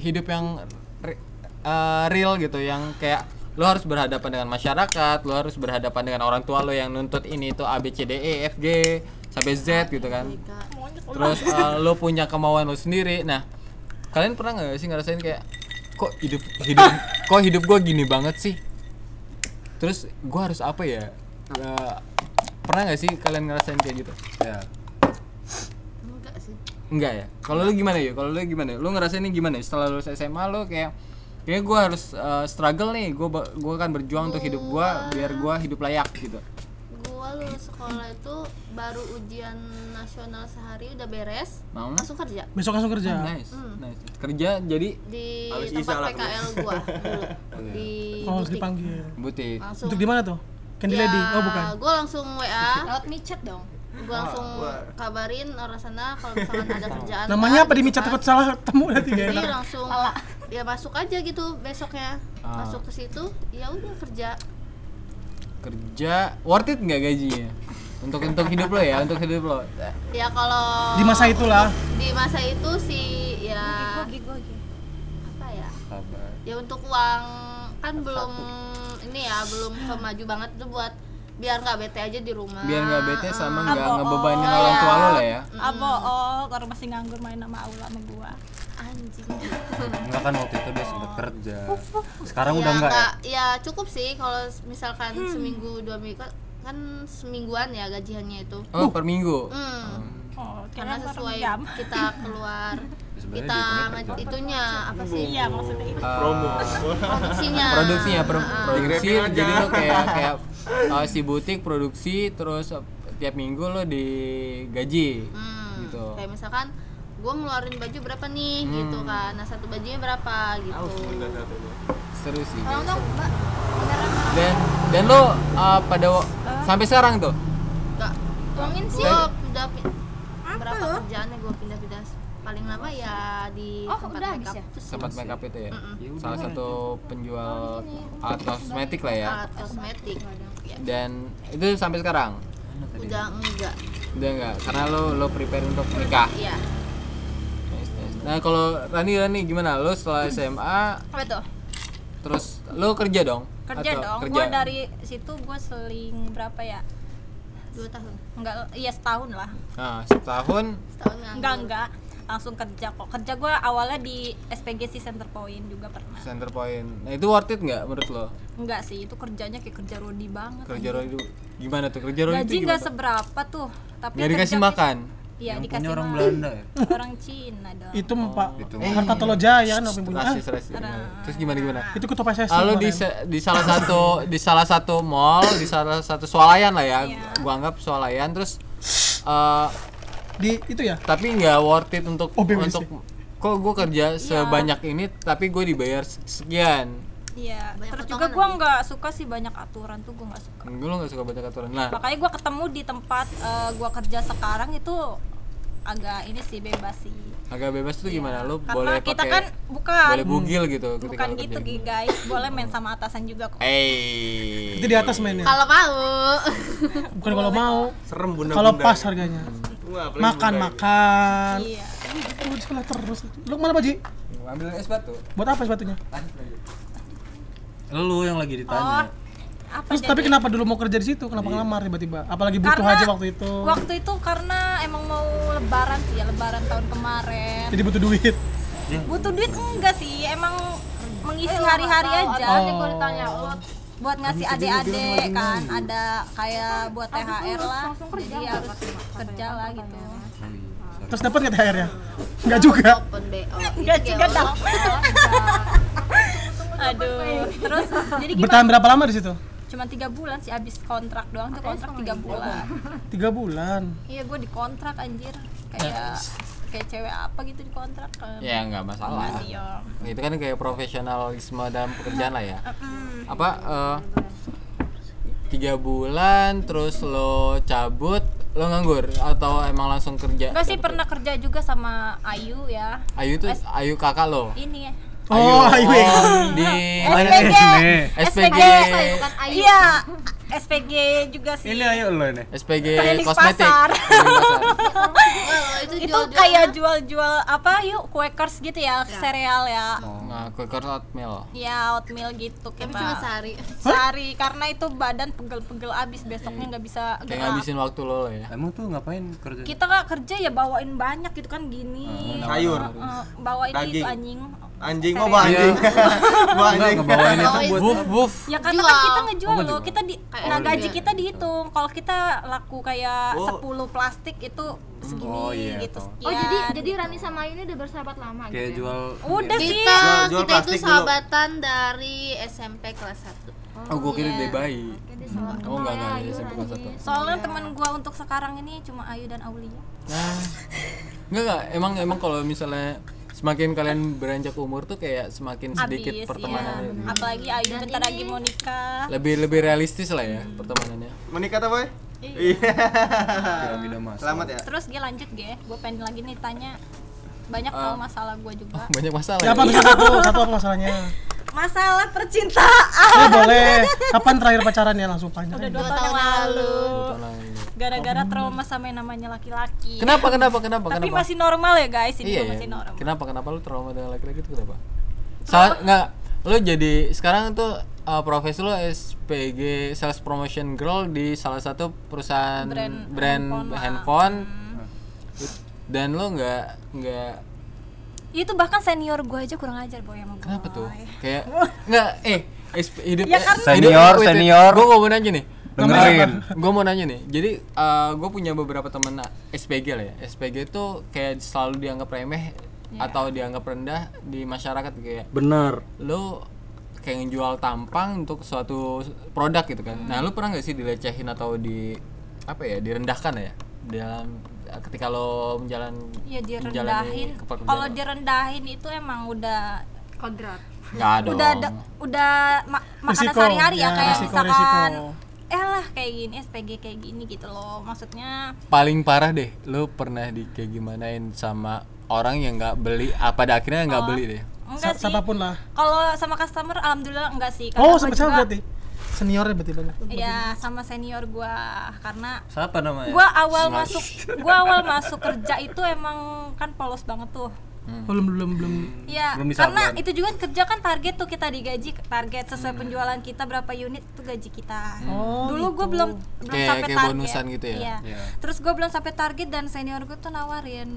F: hidup yang re- eh, real gitu yang kayak lo harus berhadapan dengan masyarakat, lo harus berhadapan dengan orang tua lo yang nuntut ini itu A B C D E F G sampai Z gitu kan terus uh, lo punya kemauan lo sendiri nah kalian pernah nggak sih ngerasain kayak kok hidup hidup kok hidup gue gini banget sih terus gue harus apa ya Eh, pernah nggak sih kalian ngerasain kayak gitu
B: Ya.
E: enggak sih
F: enggak ya kalau lu gimana ya kalau lu gimana lu ngerasainnya gimana ya? setelah lulus SMA lu kayak kayak gue harus eh, struggle nih gue gue kan berjuang untuk hidup gue biar gue hidup layak gitu
E: gua lulus sekolah itu baru ujian nasional sehari udah beres
F: mau
E: langsung kerja
G: besok langsung kerja
F: nice nice kerja jadi
E: di
D: Habis isa lah
E: tempat PKL gua dulu di
G: oh
E: butik
G: dipanggil
F: butik
E: langsung
G: untuk di mana tuh Candy
E: Ya,
G: Lady oh bukan
E: gua langsung
F: Ah,
E: WA
C: Lewat micet dong.
E: gua langsung kabarin orang sana kalau misalkan ada kerjaan
G: namanya apa di
E: gitu
G: micat
E: kan.
G: takut salah ketemu nanti gak
E: jadi
G: enak
E: langsung ya masuk aja gitu besoknya
F: Ah.
E: masuk ke situ ya udah kerja
F: kerja worth it nggak gajinya untuk untuk hidup lo ya untuk hidup lo
E: ya kalau
G: di masa itulah
E: di masa itu sih ya apa ya ya untuk uang kan belum ini ya belum kemaju banget tuh buat biar nggak bete aja di rumah
F: biar nggak bete sama nggak
H: Ah, bohong.
F: ngebebanin orang tua lo lah ya
H: Apa oh, kalau masih nganggur main sama aula sama gua.
E: Ah, anjing
B: Enggak kan waktu itu dia sempet kerja. Sekarang
E: ya,
B: udah enggak ya?
E: nggak- ya cukup sih kalau misalkan seminggu dua minggu kan semingguan ya gajiannya itu
F: oh per minggu
E: Hmm,
H: Oh,
E: karena
H: kirain per
E: sesuai
H: jam.
E: kita keluar
B: Sebenarnya
E: kita
B: dihitungnya per jam.
E: itunya apa sih
H: Iya, maksudnya itu.
D: promo
E: produksinya
F: produksinya pro- produksi
D: Di-grabin aja.
F: jadi lo kayak kayak uh, si butik produksi terus uh, tiap minggu lo digaji
E: Hmm,
F: gitu.
E: kayak misalkan gue ngeluarin baju berapa nih gitu kan nah satu bajunya berapa gitu
F: seru sih
E: kalau enggak mbak beneran
F: dan dan lo uh, pada wa- sampai sekarang tuh
E: enggak uangin sih
F: Dan-
E: gua udah pi- berapa kerjaan yang gue pindah-pindah paling lama ya di
C: Oh,
E: tempat
C: udah habis
E: makeup
C: ya?
E: terus
F: tempat makeup itu ya salah satu penjual alat kosmetik lah ya
E: alat kosmetik ya,
F: dan itu sampai sekarang
E: udah enggak
F: udah enggak karena lo lo prepare untuk nikah
E: iya
F: Nice, nice. nah kalau Rani Rani gimana lo setelah SMA
E: apa tuh
F: terus lo kerja dong
H: Kerja
F: Atau
H: dong. Gua dari situ gua seling berapa ya?
E: dua tahun
H: Enggak, iya setahun lah.
F: nah, setahun
E: setahun
H: Enggak,
E: nganggur
H: enggak. Langsung kerja kok. Kerja gua awalnya di SPGC Center Point juga pernah.
F: center point nah itu worth it nggak menurut lo
H: Enggak sih, itu kerjanya kayak kerja rodi banget.
F: kerja roli itu gimana tuh kerja roli
H: Gaji
F: itu
H: enggak
F: gimana
H: seberapa tuh, tapi
F: nggak
H: kerja
F: dikasih
H: kita-
F: makan
B: Yang
H: Iya, dikasih
B: punya orang
H: makan.
B: Belanda ya?
H: Orang Cina dong.
G: Itu Pak.
B: Itu.
G: Harta Tolo Jaya kan apa yang punya. Ah,
F: rasis rasis terus gimana gimana
H: Iya.
G: itu ketua PSSI.
F: Ah, lo
G: kemarin.
F: di se- di salah satu di salah satu mall di salah satu swalayan lah ya
H: Iya.
F: gua anggap swalayan terus eh,
G: di itu ya?
F: tapi nggak worth it untuk
G: Oh, BBC.
F: untuk kok gue kerja sebanyak ini tapi gue dibayar se- sekian
H: Iya,
E: Banyak
H: terus juga
E: potongan
H: gua nggak suka sih banyak aturan tuh gua nggak suka.
F: gue lo nggak suka baca aturan nah
H: Makanya gua ketemu di tempat eh, gua kerja sekarang itu agak ini sih bebas sih.
F: agak bebas tuh gimana lo boleh
H: Iya. Karena kita
F: pakai
H: kan bukan
F: boleh bugil gitu ketika
H: bukan
F: lo
H: gitu
F: kerja.
H: guys, boleh main sama atasan juga kok.
F: Eh,
G: Itu di atas mainnya.
E: kalau mau
G: Bukan kalau mau,
D: serem bunda
G: kalau pas harganya. Makan
D: ya.
G: makan.
H: Iya.
G: Lu salah terus. Lu kemana Pak Ji?
F: ambil es batu
G: Buat apa sepatunya?
B: Lu yang lagi
H: Oh,
B: ditanya.
H: apa
G: Terus
H: jadi?
G: tapi kenapa dulu mau kerja di situ? Kenapa
B: Iya.
G: ngelamar tiba-tiba? Apalagi butuh
H: Karena
G: aja waktu itu.
H: Waktu itu karena emang mau lebaran sih ya, lebaran tahun kemarin.
G: Jadi butuh duit. Iya.
H: Butuh duit enggak sih, emang mengisi hari-hari aja.
C: Nanti gua ditanya lo
H: buat ngasih adik-adik kan ada kayak buat THR lah jadi harus kerja lah gitu
B: Oh.
G: Terus dapat nggak THR-nya? Enggak juga.
E: open bo
H: Iya, oh, Enggak juga dong aduh terus jadi gimana
G: Bertahan berapa lama di situ?
H: cuma tiga bulan sih abis kontrak doang tuh kontrak tiga bulan
G: Tiga bulan.
H: iya gue dikontrak anjir kayak kayak cewek apa gitu dikontrak kan
F: ya nggak masalah
H: Iya.
F: itu kan kayak profesionalisme dalam pekerjaan lah ya apa eh, tiga bulan terus lo cabut lo nganggur atau emang langsung kerja
H: Enggak sih pernah kerja juga sama Ayu ya
F: Ayu tuh Ayu kakak lo
H: ini ya
G: Oh, ayo.
F: Oh, di
H: SPG
F: SPG
H: iya SPG juga sih
B: Ini ayo lo ini.
F: SPG
H: Keliling
F: kosmetik
H: pasar.
F: Keliling pasar.
E: itu
H: itu
E: jual
H: kayak jual-jual apa yuk kuekers gitu ya,
E: Iya.
H: sereal ya
F: nah kue kerat mil
H: ya oatmeal gitu
E: tapi
H: kita
E: cuma sehari
H: sehari karena itu badan pegel-pegel abis besoknya nggak bisa
F: kayak
H: gerak
F: ngabisin waktu lo lah ya
B: Emang tuh ngapain kerja?
H: kita nggak kerja ya bawain banyak gitu kan
F: Ah,
H: gini
D: sayur
H: Eh, bawain
D: Daging.
H: itu anjing
D: anjing oh bawa anjing bawa
B: Enggak
D: anjing
B: ngebawain itu buat
F: wuf wuf
H: ya karena kan kita ngejual
F: Oh,
H: loh
F: ngejual.
H: kita di
E: Kayak
H: nah
E: orang
F: ya?
H: gaji
E: jual.
H: kita dihitung kalau kita laku kayak
D: Oh.
H: 10 plastik itu segini
B: Oh, iya,
H: gitu
B: tahu.
H: sekian
C: Oh jadi jadi Rani sama Ayu ini udah bersahabat lama
B: kayak
C: gitu. ya?
B: jual
H: udah sih
E: kita
D: Jual- jual
E: kita itu
D: plastik dulu.
E: sahabatan dari SMP kelas 1
F: oh gue kira dia bayi
C: Jadi salah
F: oh enggak enggak
C: Ayu,
F: ya satu kelas satu
C: Rani.
H: soalnya teman gua untuk sekarang ini cuma Ayu dan Aulia
F: Nah, enggak enggak emang emang kalau misalnya semakin kalian beranjak umur tuh kayak semakin sedikit
H: Abis,
F: pertemanannya.
H: iya. apalagi Ayu bentar lagi mau nikah
F: Lebih lebih realistis lah ya pertemanannya.
D: menikah apa ya iya
B: piramida mas.
D: selamat
F: Eh.
D: ya
H: terus gue lanjut gue gue pengen lagi nih tanya banyak tau
F: Eh.
H: masalah gue juga
F: Banyak masalah.
G: Ya, apa
F: ya.
G: bisa satu, satu apa masalahnya?
H: masalah percintaan
G: Ya boleh. Kapan terakhir pacaran ya langsung panjang.
H: udah
G: ya.
H: dua tahun yang lalu
F: Nah, ini.
H: gara-gara trauma sama yang namanya laki-laki
F: Kenapa kenapa kenapa
H: tapi
F: kenapa?
H: masih normal ya guys ini
F: iya,
H: gua
F: ya.
H: masih normal
F: Kenapa kenapa lu trauma dengan laki-laki itu kenapa? Salah enggak lu jadi sekarang tuh uh, profesi lo SPG sales promotion girl di salah satu perusahaan
H: Brand
F: brand,
H: handphone lah. Hmm.
F: handphone, dan lo nggak nggak
H: itu bahkan senior gue aja kurang ajar boy sama gue
F: kenapa tuh kayak nggak eh es- hidup
H: Ya kan?
B: Senior, senior.
F: gue mau nanya nih
B: Dengerin.
F: gue mau nanya nih jadi gue punya beberapa temen SPG lah ya SPG itu kayak selalu dianggap remeh
H: Ya.
F: atau dianggap rendah di masyarakat kayak
I: Benar.
F: lo kayak ngejual tampang untuk suatu produk gitu kan. Nah, lu pernah nggak sih dilecehin atau di apa ya, direndahkan ya dalam ketika lo menjalan
H: ya
F: menjalani
H: direndahin
F: kepekerjaan
H: kalau
F: lo?
H: direndahin itu emang udah kodrat
F: nggak Ah, dong.
H: udah ada, udah ma- makanan
G: Risiko,
H: sehari-hari
G: ya,
H: ya, kayak
G: risiko,
H: misalkan
G: risiko.
H: eh lah kayak gini SPG kayak gini gitu loh maksudnya
F: Paling parah deh, lo pernah di kayak gimanain sama orang yang nggak beli, apa pada akhirnya nggak
G: Oh.
F: beli deh.
G: Sa-
H: enggak sih
G: siapapun lah.
H: kalau sama customer alhamdulillah enggak sih Karena
G: Oh,
H: gua
G: sama
H: juga-
G: sama berarti. Seniornya berarti banyak.
H: ya sama senior gua karena
F: Siapa namanya?
H: gua awal masuk gua awal masuk kerja itu emang kan polos banget tuh
I: Hmm.
G: Oh, Belum belum belum.
F: Hmm,
H: Iya,
F: Belum disablon.
H: karena itu juga kerja kan target tuh kita digaji target sesuai
F: Hmm.
H: penjualan kita berapa unit itu gaji kita.
G: Oh,
H: Dulu
G: gitu.
H: gue belum belum
F: Kayak-
H: sampai
F: kayak
H: target.
F: bonusan gitu ya?
H: Iya.
F: Iya.
H: Terus gue belum sampai target dan senior gue tuh nawarin,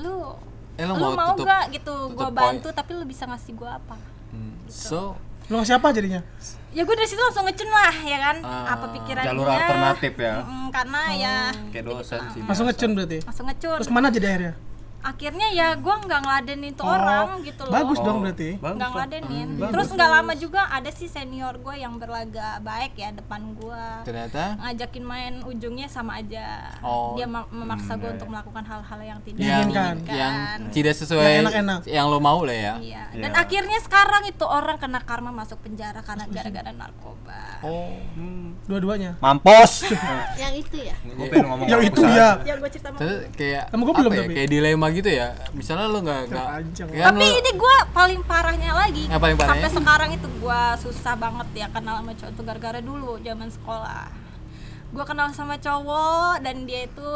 H: lu
F: Hmm. Eh,
H: lu,
F: lu
H: mau,
F: mau tutup-
H: gak gitu gue
F: tutup
H: bantu tapi lu bisa ngasih gue apa?
F: Hmm. So,
G: Lu ngasih apa jadinya?
H: Ya gue dari situ langsung ngecun lah ya kan,
F: Ah,
H: apa pikirannya?
F: jalur alternatif ya.
H: Mm, karena ya
F: kayak dosen sih.
G: Langsung ngecun berarti.
H: langsung ngecun.
G: Terus kemana jadi akhirnya? Oh.
H: Akhirnya ya gue nggak ngeladenin tuh orang gitu loh.
I: Oh.
G: Bagus dong
F: Oh,
G: berarti.
H: nggak ngeladenin
F: Hmm,
H: terus nggak lama juga ada sih senior gue yang berlagak baik ya depan gue
F: Ternyata
H: ngajakin main ujungnya sama aja
F: Oh,
H: dia ma- memaksa gue untuk melakukan hal-hal yang tidak
F: yang,
G: Diinginkan.
F: yang
H: diinginkan
F: tidak sesuai
G: kan? Yang enak-enak.
F: yang lo mau lah ya.
H: Iya. dan akhirnya sekarang itu orang kena karma masuk penjara karena gara-gara narkoba
G: Dua-duanya.
I: Mampus.
E: yang itu ya
I: Gue pengen ngomong.
G: Ya itu ya.
H: yang gue cerita
F: Terus kayak
G: Sama gua
F: apa
G: belum
F: ya,
G: tapi.
F: kayak dilema gitu ya misalnya lo nggak nggak
G: Terpanjang.
F: kan
H: tapi
F: lo-
H: ini gue paling parahnya lagi
F: Yang paling parahnya?
H: sampai sekarang itu gue susah banget ya kenal sama cowok itu gara-gara dulu zaman sekolah gue kenal sama cowok dan dia itu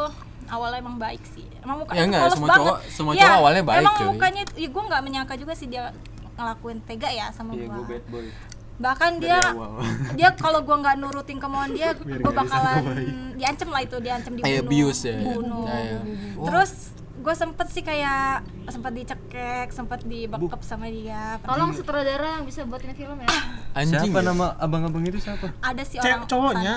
H: awalnya emang baik sih emang mukanya
F: Ya enggak,
H: polos
F: semua
H: banget. Iya,
F: cowok- semua cowok awalnya baik,
H: emang
F: cuy.
H: mukanya ya gue nggak menyangka juga sih dia ngelakuin tega ya sama
F: Iya, gua
H: gue
F: bad boy
H: bahkan dia dia kalau gue nggak nurutin kemauan dia gue bakalan diancem lah itu diancem dibunuh
F: Kayak abuse ya.
H: bunuh
F: Ya, ya. Wah.
H: terus gue sempet sih kayak sempet dicekek sempet dibekep sama dia
E: tolong sutradara yang bisa buatin film ya
F: anjing
I: Siapa
F: ya?
I: nama abang-abang itu siapa?
H: ada si
G: Cewek
H: orang
G: cowoknya.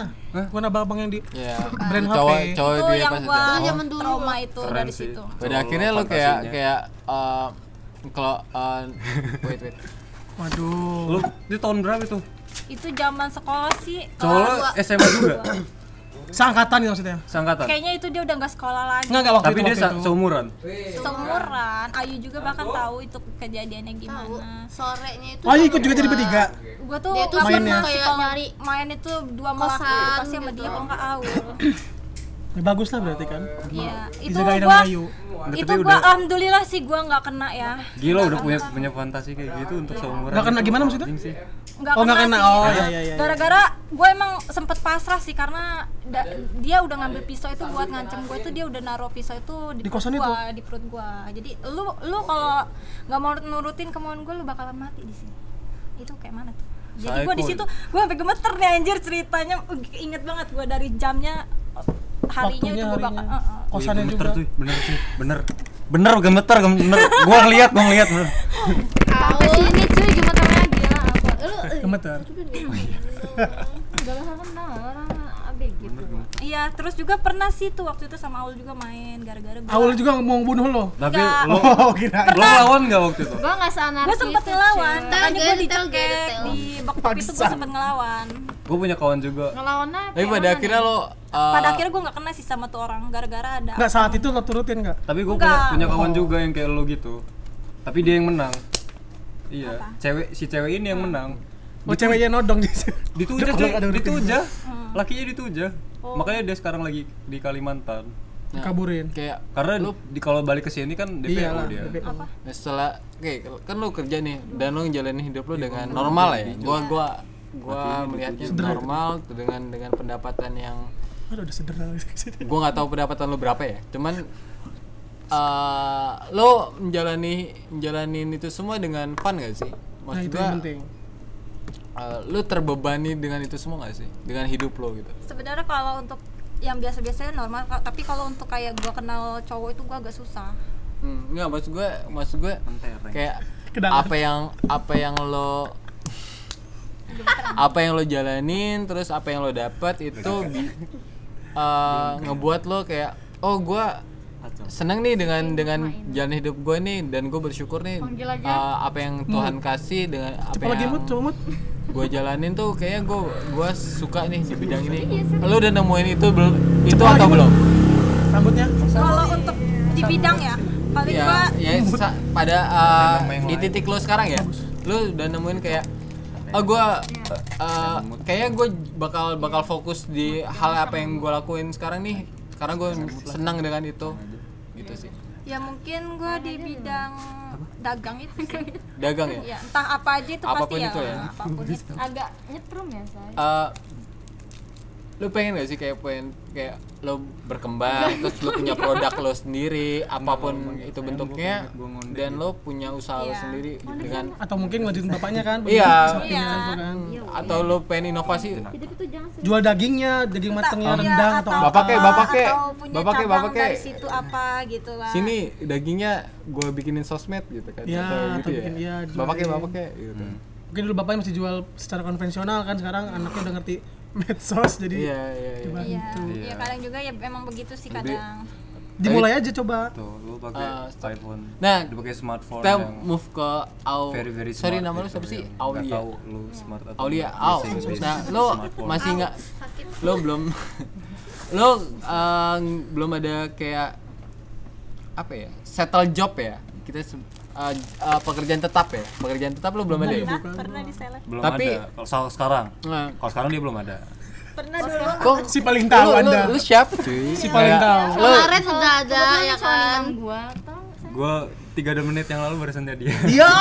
G: Bukan abang-abang yang di
F: ya
G: Brand
F: cowok
G: HP.
F: cowok
H: itu
F: dia
H: yang
F: pas
H: gua
F: itu. Oh.
E: zaman dulu.
H: trauma itu dari situ
F: pada akhirnya lo kayak kayak eh, kalau eh, wait wait
G: Waduh.
I: Lu di tahun berapa itu?
H: itu zaman sekolah sih
I: Cowok lo
H: kelas dua.
I: SMA juga.
G: Seangkatan ya maksudnya.
I: Seangkatan.
H: kayaknya itu dia udah nggak sekolah lagi
G: Enggak enggak waktu
I: Tapi
G: itu.
I: dia
G: waktu
I: sa-
G: itu.
I: seumuran.
H: seumuran Ayu juga bahkan tahu itu kejadiannya gimana
E: sorenya itu
G: Oh, iya, ikut juga jadi bertiga.
H: gue tuh
E: Dia tuh
H: nggak
G: mainnya.
H: pernah sih
E: Kayak
H: kalau
E: nyari
H: main itu dua malam aku
E: kosan
H: pasti sama
E: gitu.
H: dia kalau nggak awal
G: Ya, bagus lah berarti kan.
H: iya itu
G: Dijagain
H: gua
G: sama Ayu.
H: itu gua alhamdulillah sih gua nggak kena ya
I: Gila udah punya punya fantasi kayak gitu untuk seumuran.
G: Enggak kena
I: gitu.
G: gimana maksudnya?
I: Anjing sih.
H: nggak
G: Oh, nggak kena.
H: sih.
G: Oh, iya, iya, iya.
H: gara-gara gua emang sempet pasrah sih karena da- dia udah ngambil pisau itu buat ngancem gua itu dia udah naruh pisau itu di,
G: Di
H: perut
G: kosan
H: gua di perut gua jadi lu lu kalau nggak mau nurutin kemauan gua lu bakalan mati di sini itu kayak mana tuh jadi gua di
F: Psycho.
H: situ gua sampai gemeter nih anjir ceritanya Uh, inget banget gua dari jamnya harinya
G: Waktunya
H: itu gua bakal
G: harinya.
H: Eh, eh.
I: Wih,
G: Kosannya
I: Iya, gemeter
G: juga.
I: tuh, bener tuh, bener. Bener gemeter, gem- bener. Gua ngeliat, gua ngeliat bener.
E: sampai sini cuy gemeter lagi lah apa lu
G: Gemeter.
E: udah lama kenal orang abg gitu
H: iya terus juga pernah sih tuh waktu itu sama Aul juga main gara-gara gua
G: Awal juga mau bunuh lo.
I: Tapi
H: Nggak.
I: lo
G: Oh, kira.
I: lo lawan nggak waktu itu?
E: gua nggak seanar
H: gue sempet ngelawan
E: Cel.
H: makanya gue
E: Tell, tell,
H: dicekek
E: tell.
H: di bokep itu gue sempet ngelawan
I: Gua punya kawan juga.
E: ngelawannya
F: tapi pada akhirnya lo eh, Nah.
H: pada akhirnya gue nggak kena sih sama tuh orang gara-gara ada
G: Enggak saat itu lo turutin enggak?
I: Tapi gua
H: Nggak.
I: punya, punya kawan juga yang kayak lo gitu. Tapi dia yang menang. Iya, cewek si cewek ini yang menang.
G: Oh, ceweknya nodong di
F: Ya.
I: Ditujah,
G: Dia
I: cuy.
G: kalau ada udah
I: Ditujah.
B: gitu.
F: Hmm.
I: Lakinya ditujah.
F: Oh.
I: Makanya dia sekarang lagi di Kalimantan.
G: Dikaburin. Iya
F: kayak
I: Karena di kalau balik ke sini kan
B: Iya
I: DPO
G: Iyalah.
I: dia.
G: DPO.
F: nah, setelah kayak kan lo kerja nih dan lo ngejalanin hidup lo dengan normal lah ya gua gua gua melihatnya normal dengan dengan pendapatan yang
G: Aduh, udah sederhana. Nah,
F: gue nggak tahu pendapatan lo berapa ya cuman eh, lo menjalani menjalani itu semua dengan fun gak sih
G: Nah,
F: maksud
G: itu
F: gua
G: yang penting.
F: eh, lu terbebani dengan itu semua gak sih dengan hidup lo gitu
H: sebenarnya kalau untuk yang biasa-biasanya normal ka- tapi kalau untuk kayak gua kenal cowok itu gua agak susah
F: Hmm, enggak maksud gue maksud gue kayak apa yang apa yang lo apa yang lo jalanin terus apa yang lo dapat itu bi- eh, ngebuat lo kayak oh gue seneng nih dengan dengan jalan hidup gue nih dan gue bersyukur nih
C: Panggil aja.
F: eh, apa yang Tuhan kasih dengan apa
G: Apalagi
F: yang
G: mood, cuma mood.
F: gue jalanin tuh kayaknya gue gua suka nih di bidang ini lo udah nemuin itu belum itu atau belum
G: Rambutnya.
H: kalau untuk di bidang ya paling gua
F: ya, ya sa- pada uh, di titik lo sekarang ya lo udah nemuin kayak oh gue
H: Iya.
F: kayaknya gue bakal bakal fokus di hal apa yang gue lakuin sekarang nih karena gue senang dengan itu gitu sih
H: ya mungkin gua di bidang dagang itu sih.
F: dagang ya
H: ya entah apa aja itu
F: Apapun
H: pasti
F: itu ya.
H: apapun itu
C: agak nyetrum ya saya
F: Eh, lu pengen gak sih kayak pengen kayak lo berkembang terus lo punya produk lo sendiri apapun itu bentuknya dan lo punya usaha lo
H: Iya.
F: sendiri dengan
G: Atau mungkin ngelanjutin bapaknya kan?
F: Iya.
G: Sampingan tuh kan.
H: iya.
F: atau lo pengen inovasi
G: Jual dagingnya, daging matengnya,
F: Oh, iya,
G: rendang atau apa?
F: Bapak kek,
H: iya, apa,
F: bapak kek,
H: atau punya
F: bapak kek,
H: cabang
F: bapak kek.
H: dari situ apa gitu lah
F: sini dagingnya gue bikinin sosmed gitu kan
G: Iya,
F: atau gitu
G: atau
F: ya
G: bikin iya, jualin.
F: bapak kayak bapak kayak gitu
G: Mungkin dulu bapaknya masih jual secara konvensional kan sekarang anaknya udah ngerti medsos jadi
F: iya iya iya
H: iya iya kadang juga ya memang begitu sih kadang
G: dimulai aja coba.
B: Tuh, lu pakai
F: Eh, stop.
B: iPhone.
F: nah
B: pakai smartphone
F: kita
B: yang
F: move ke Au
B: very very smart.
F: sorry nama lu
B: gitu,
F: siapa sih
B: yang nggak
F: Aulia
B: tahu lu smart atau
F: Aulia
B: nggak.
F: Au
B: Biasanya biasa
F: nah
B: sih
F: lo
B: smartphone.
F: masih nggak lo belum lo eh, belum ada kayak apa ya settle job ya kita se- eh, eh, pekerjaan tetap ya pekerjaan tetap lo belum ada ya?
H: pernah pernah di seleb
B: belum
F: Tapi-
B: ada. Kalau sa- sekarang,
F: Nah,
B: kalau sekarang dia belum ada.
H: pernah dulu
F: kok
G: Si paling tahu
F: lu, lu-
G: Anda.
F: lu siapa cuy
G: Si paling
F: Kayak-
G: tahu.
F: lo
E: Kemarin sudah ada ya kan.
B: Gua 3 menit yang lalu barusan dia.
G: Iya.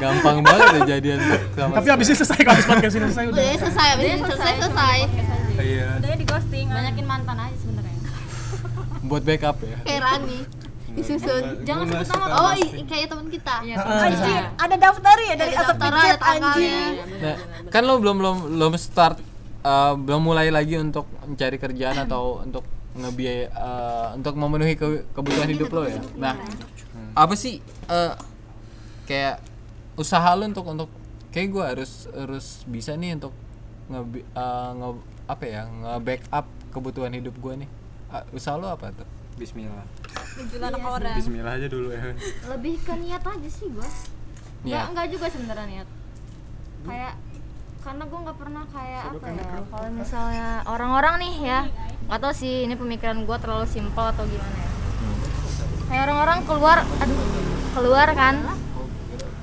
F: gampang banget ya jadian sama
G: Tapi habis ini selesai kalau habis podcast ini selesai udah.
E: Udah kan? selesai, abis ini selesai selesai.
B: Iya.
H: Udahnya di ghosting
C: banyakin mantan aja sebenarnya
F: buat backup ya
E: Kayak Rani disusun.
B: Jangan sebut nama.
E: Oh, i- kayak teman kita.
H: anjir ada daftar ya dari asap
E: Daftaran
H: pijat
E: Iya, ada
H: anjing
E: tanggalnya.
F: nah, kan lo belum belum belum start eh, belum mulai lagi untuk mencari kerjaan atau untuk ngebiaya eh, untuk memenuhi ke- kebutuhan hidup lo ya nah apa sih eh, kayak usaha lo untuk untuk kayak gue harus harus bisa nih untuk nge, eh, nge- apa ya nge backup kebutuhan hidup gue nih Ah, usaha lo apa tuh
B: Bismillah.
H: jualan orang
B: Bismillah aja dulu ya.
C: lebih ke niat aja sih gue nggak
F: Niat.
C: nggak juga sebenarnya niat kayak karena gue nggak pernah kayak apa ya kalau misalnya orang-orang nih ya nggak tahu sih ini pemikiran gue terlalu simpel atau gimana ya kayak orang-orang keluar aduh keluar kan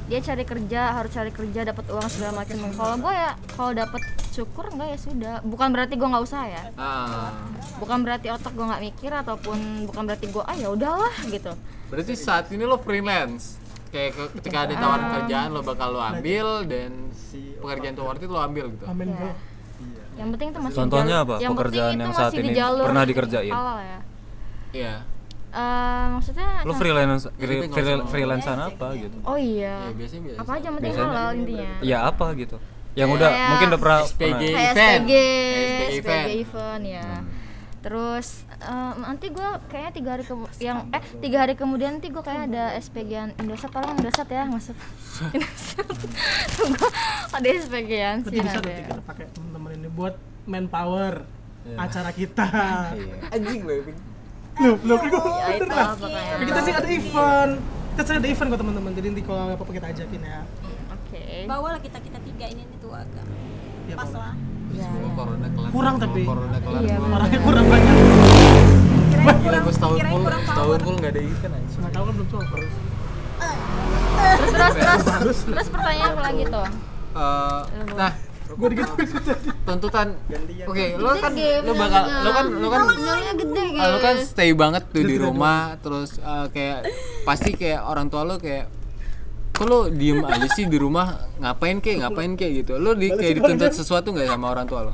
C: dia cari kerja harus cari kerja dapat uang segala macam kalau gue ya kalau dapat syukur enggak ya sudah bukan berarti gue nggak usaha ya
F: ah
C: bukan berarti otak gue nggak mikir ataupun bukan berarti gue ah ya udahlah gitu
F: Berarti saat ini lo freelance. Kayak ke- ketika ada tawaran kerjaan lo bakal lo ambil dan pekerjaan itu worth it lo ambil gitu.
G: Amin bro.
C: Yang penting itu masih
B: Contohnya
C: jalur-
B: apa
C: yang penting
B: pekerjaan
C: itu
B: yang
C: masih
B: saat
C: di
B: ini
C: jalur
B: pernah dikerjain?
C: halal ya.
F: Iya.
C: Eh, maksudnya
B: Lu
C: contoh-
B: freelance
F: Jadi
B: free-
F: nggak
B: free-
F: usah.
B: freelancean apa gitu?
C: Oh iya.
F: Ya biasanya biasa.
C: Apa aja yang penting
B: Biasanya-
C: halal intinya.
B: Ya apa gitu? Yang udah
C: Kayak
B: mungkin udah pernah
F: SPG
B: pernah.
C: Kayak
F: event.
C: SPG,
F: SPG event.
C: SPG event ya. Terus eh, nanti gue kayaknya tiga hari kemu- yang eh tiga hari kemudian nanti gue kayak ada SPG-an Indosat tolong Indosat ya masuk Indosat gue ada SPG-an sih
G: Berarti bisa tuh
C: Iya, ada. ya.
G: kita pakai teman-teman ini buat manpower acara kita.
F: Anjing lo. Pink.
G: Loh, loh, kok
C: ya itu lah pokoknya
G: Tapi kita sih ada event. Kita sering ada event kok teman-teman. Jadi nanti kalau apa-apa kita ajakin ya.
C: oke
H: bawa lah kita kita tiga ini itu agak
G: Ya,
H: pas
G: kalau-
H: lah
F: Kalau corona kelar.
G: Kurang
F: kalau
G: tapi.
F: Corona kelar.
C: Iya,
F: gua-
G: Orangnya kurang banyak.
F: Gila gue setahun
H: kirain
F: full,
H: kurang
F: setahun full nggak ada event anjing.
G: Nggak tahu kan belum coba.
C: terus terus terus terus pertanyaan apa lagi tuh
F: Eh, nah,
G: Gue digituin.
F: tuntutan. Oke, lo kan
C: game,
F: lo bakal lo kan lo kan
C: Masalahnya gede
F: Ah, lu kan stay banget tuh di rumah terus eh, kayak pasti kayak orang tua lu kayak kok lu diem aja sih di rumah ngapain kek ngapain kek gitu lu di, kayak dituntut sesuatu nggak sama orang tua lo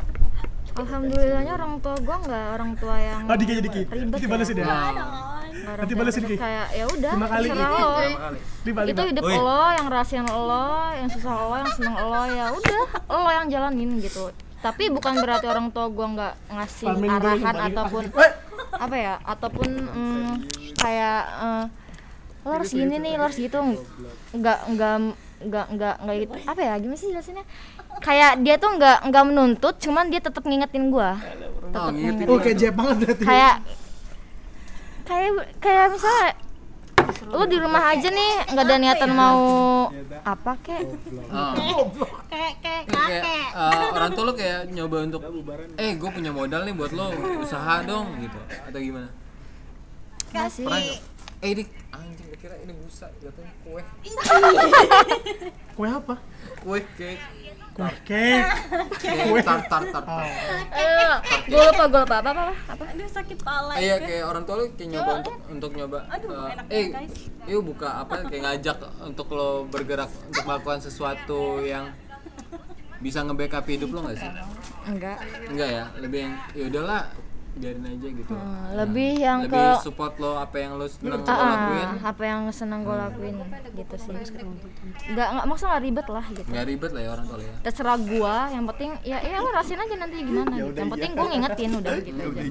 C: Alhamdulillahnya orang tua gue nggak orang tua yang
G: Oh, dikit jadi dikit.
C: ribet
G: Nanti balesin
C: ya.
G: deh.
E: Nggak
G: Nanti
E: rempah,
G: balesin, Ki.
E: kayak ya udah
G: Lima kali.
E: terserah lo.
G: Lima,
E: itu
G: lima.
E: hidup
D: Woi.
E: lo yang rahasia lo yang susah lo yang seneng lo ya udah lo yang jalanin gitu tapi bukan berarti orang tua gua nggak ngasih
G: Pamin dulu,
E: arahan
G: pamin.
E: ataupun
G: Weh,
E: apa ya ataupun mm, kayak eh, lo harus gini nih lo harus gitu nggak nggak nggak nggak nggak gitu apa ya gimana sih jelasinnya kayak dia tuh nggak nggak menuntut cuman dia tetap ngingetin gua
F: Oh,
E: tetap
C: Iya,
E: ngingetin
G: Oke, jep banget berarti.
E: kayak kayak kayak misalnya lu di rumah aja nih nggak ada niatan mau apa kek
F: Ah.
H: kayak kayak
F: Kayak, eh, orang tua lo kayak nyoba untuk eh gue punya modal nih buat lo usaha dong gitu atau gimana
E: nggak sih
F: pernah nggak? eh ini anjing gue kira ini busa jatuhnya kue
G: Kue apa?
F: kue cake
G: Kue cake.
F: kue tar tar tar tar
E: Eh, gue lupa gue lupa apa apa apa
H: aduh sakit pala
F: Eh, iya kayak orang tua lo kayak nyoba untuk untuk nyoba eh,
H: Oh. enak
F: eh
H: banget, guys.
F: yuk buka apa kayak ngajak untuk lo bergerak untuk melakukan sesuatu yang bisa nge-backup hidup lo nggak sih
E: enggak
F: enggak ya lebih yang ya udahlah biarin aja gitu
E: Hmm, lebih yang
F: lebih
E: ke
F: support lo apa yang lo seneng lo
E: Ah, ah,
F: lakuin
E: apa yang senang gue lakuin gitu sih nggak nggak maksudnya nggak ribet lah gitu
F: nggak ribet lah ya orang tua lo ya
E: terserah gua yang penting ya ya lo rasain aja nanti gimana gitu yang penting gua ngingetin udah gitu aja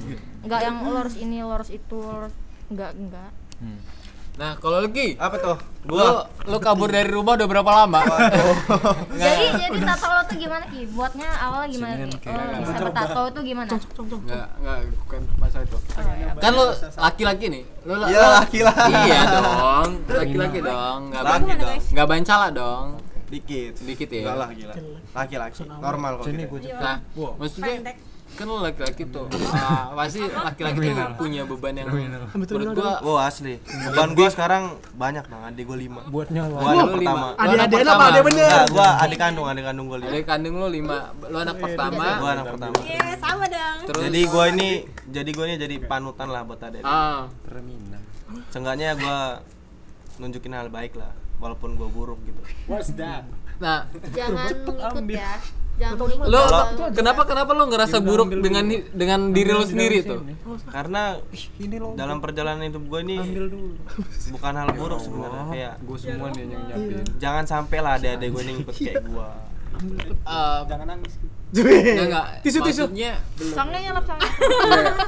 E: nggak yang lo harus ini lo harus itu lo harus nggak nggak
F: nah kalau lagi
G: Ah,
D: Apa tuh?
F: lo lo kabur dari rumah udah berapa lama
E: jadi jadi tato lo tuh gimana ki buatnya awal gimana ki lo bisa bertato tuh gimana
F: nggak nggak bukan masa itu
G: Iya,
F: kan lo laki-laki nih lo la-
D: Iya,
F: lo-
D: laki lah.
F: iya dong laki-laki dong nggak ban
D: Laki dong.
F: nggak bancala dong
D: Dikit.
F: Dikit ya?
D: Enggak lah gila. Laki-laki. Normal kok. Sini
E: Iya.
F: nah maksudnya kan lo laki-laki tuh
G: Iya.
F: ah, pasti laki-laki tuh punya beban yang menurut gua
D: Wow asli. Beban gua sekarang banyak bang. Adik gua lima.
B: buat nyawa
D: Gua anak
F: Lu lima.
D: pertama.
F: Lu anak
G: Adik-adiknya apa
F: pertama.
G: adik bener?
D: Enggak, gua adik kandung, adik kandung gua lima.
F: Dari kandung lo lima, lo anak
E: Iya,
F: pertama,
D: Gua anak pertama.
H: Eh, sama dong
F: terus
D: Jadi gua ini, jadi gua ini jadi panutan lah buat adik.
F: ah,
D: Seenggaknya gua nunjukin hal baik lah, walaupun gua buruk gitu.
F: nah
E: jangan ngikut ya jangan ngikut
F: lo kenapa kenapa lo ngerasa buruk dengan dengan diri lo sendiri tuh?
D: Karena dalam perjalanan hidup gua ini bukan hal buruk sebenarnya. Kayak
B: gue semua nih yang nyiapin
D: jangan sampai lah adik-adik gua ini ngikut kayak gua.
F: Jangan nangis. Enggak,
G: Tisu, tisu.
F: Maksudnya
E: sangnya nyala sangnya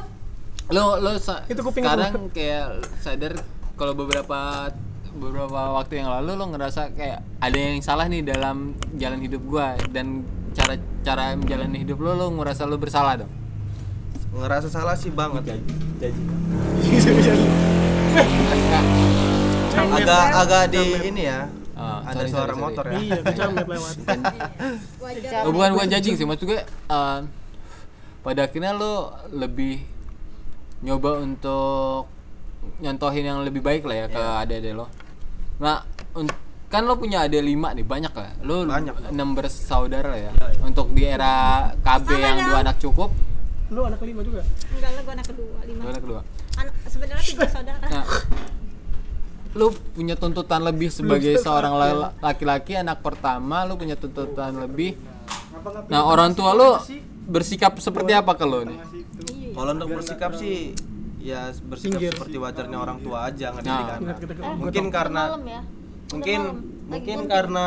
F: lo lo sa-
G: Itu kuping
F: sekarang kayak sadar kalau beberapa beberapa waktu yang lalu lo ngerasa kayak ada yang salah nih dalam jalan hidup gua dan cara cara menjalani hidup lo lo ngerasa lo bersalah dong.
D: Ngerasa salah sih banget. Agak agak di ini ya.
F: Ah,
D: Ada
F: sorry, sorry,
D: suara
F: sorry.
D: motor ya.
G: Iya, kecamnya lewat.
F: Oh, bukan bukan judging sih, maksud gue eh, pada akhirnya lo lebih nyoba untuk nyontohin yang lebih baik lah ya ke adik-adik lo. Nah, un- kan lo punya adik lima nih banyak lah, lo
D: Banyak.
F: enam bersaudara lah ya. Untuk di era KB yang dua anak cukup,
G: Lu anak kelima juga.
H: enggak lah gua anak kedua lima
F: dua anak kedua.
H: anak sebenarnya tiga saudara
F: Nah, lu punya tuntutan lebih sebagai seorang la- laki-laki anak pertama lu punya tuntutan lebih nah orang tua lu bersikap seperti apa ke lu nih
D: Kalau untuk bersikap sih ya bersikap seperti wajarnya orang tua aja nggak didik
F: Nah.
D: anak. Mungkin karena
E: malam ya
D: mungkin mungkin karena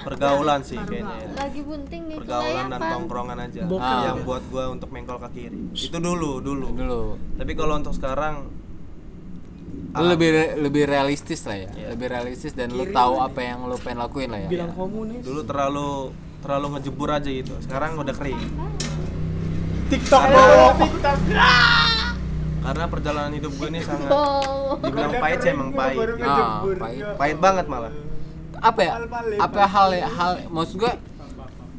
D: pergaulan sih kayaknya ya.
E: lagi bunting nih
D: Pergaulan dan tongkrongan aja
F: Bokap.
D: yang buat gua untuk mengkol ke kiri. Itu dulu, dulu.
F: dulu
D: Tapi kalau untuk sekarang
F: lu lebih re- lebih realistis lah
D: Iya.
F: ya lebih realistis dan lu tahu apa yang lu pengen lakuin lah ya
G: Bilang komunis.
D: dulu terlalu terlalu ngejebur aja gitu. Sekarang udah kering.
G: TikTok
D: Karena-
G: lo, TikTok.
D: Karena perjalanan hidup gue ini sangat
E: oh
D: dibilang pahit sih emang pahit.
F: Ah, pahit.
D: Pahit banget malah.
F: apa ya apa hal hal maksud gue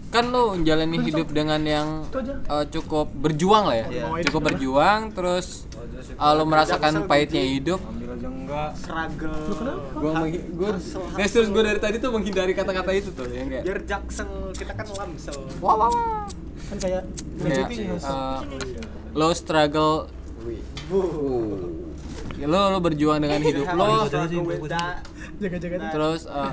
F: kan lo menjalani hidup dengan yang eh, cukup berjuang lah ya
D: Iya.
F: cukup berjuang terus eh, lo merasakan pahitnya hidup gue gue terus gue dari tadi tuh menghindari kata-kata itu tuh ya, yang kayak
B: kita kan lamsel
F: wah wah wah
G: Kan kayak
F: kayak eh, lo struggle Ya, lo lo berjuang dengan hidup lo
G: jaga-jaga tuh.
F: terus eh,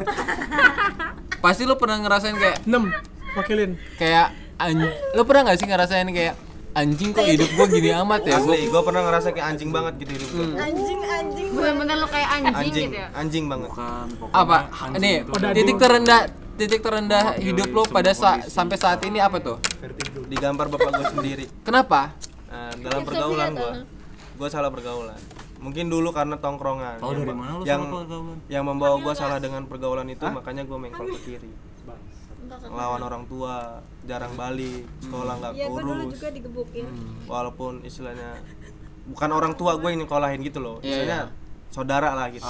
F: pasti lo pernah ngerasain kayak
G: Enam, wakilin.
F: kayak anj- lo pernah nggak sih ngerasain kayak anjing kok hidup gue gini amat ya gue
D: Asli, gue pernah ngerasa kayak anjing banget gitu hidup gue.
H: anjing anjing
E: Bener-bener lo kayak Hmm. anjing,
D: Anjing,
E: gitu ya.
D: anjing banget.
F: apa nih titik terendah titik terendah hidup lo pada sa- sampai saat ini apa tuh
D: Digampar bapak gue sendiri.
F: kenapa
D: Nah, dalam pergaulan gue, gue salah pergaulan. Mungkin dulu karena tongkrongan. yang, yang, yang membawa gue salah dengan pergaulan itu, makanya gue mengkol ke kiri. Lawan orang tua, jarang balik, sekolah nggak
H: ya gue dulu
D: kurus.
H: juga digebukin
D: walaupun istilahnya bukan orang tua gue yang nyekolahin gitu
F: Iya,
D: loh
F: Ah.
D: istilahnya saudara lah gitu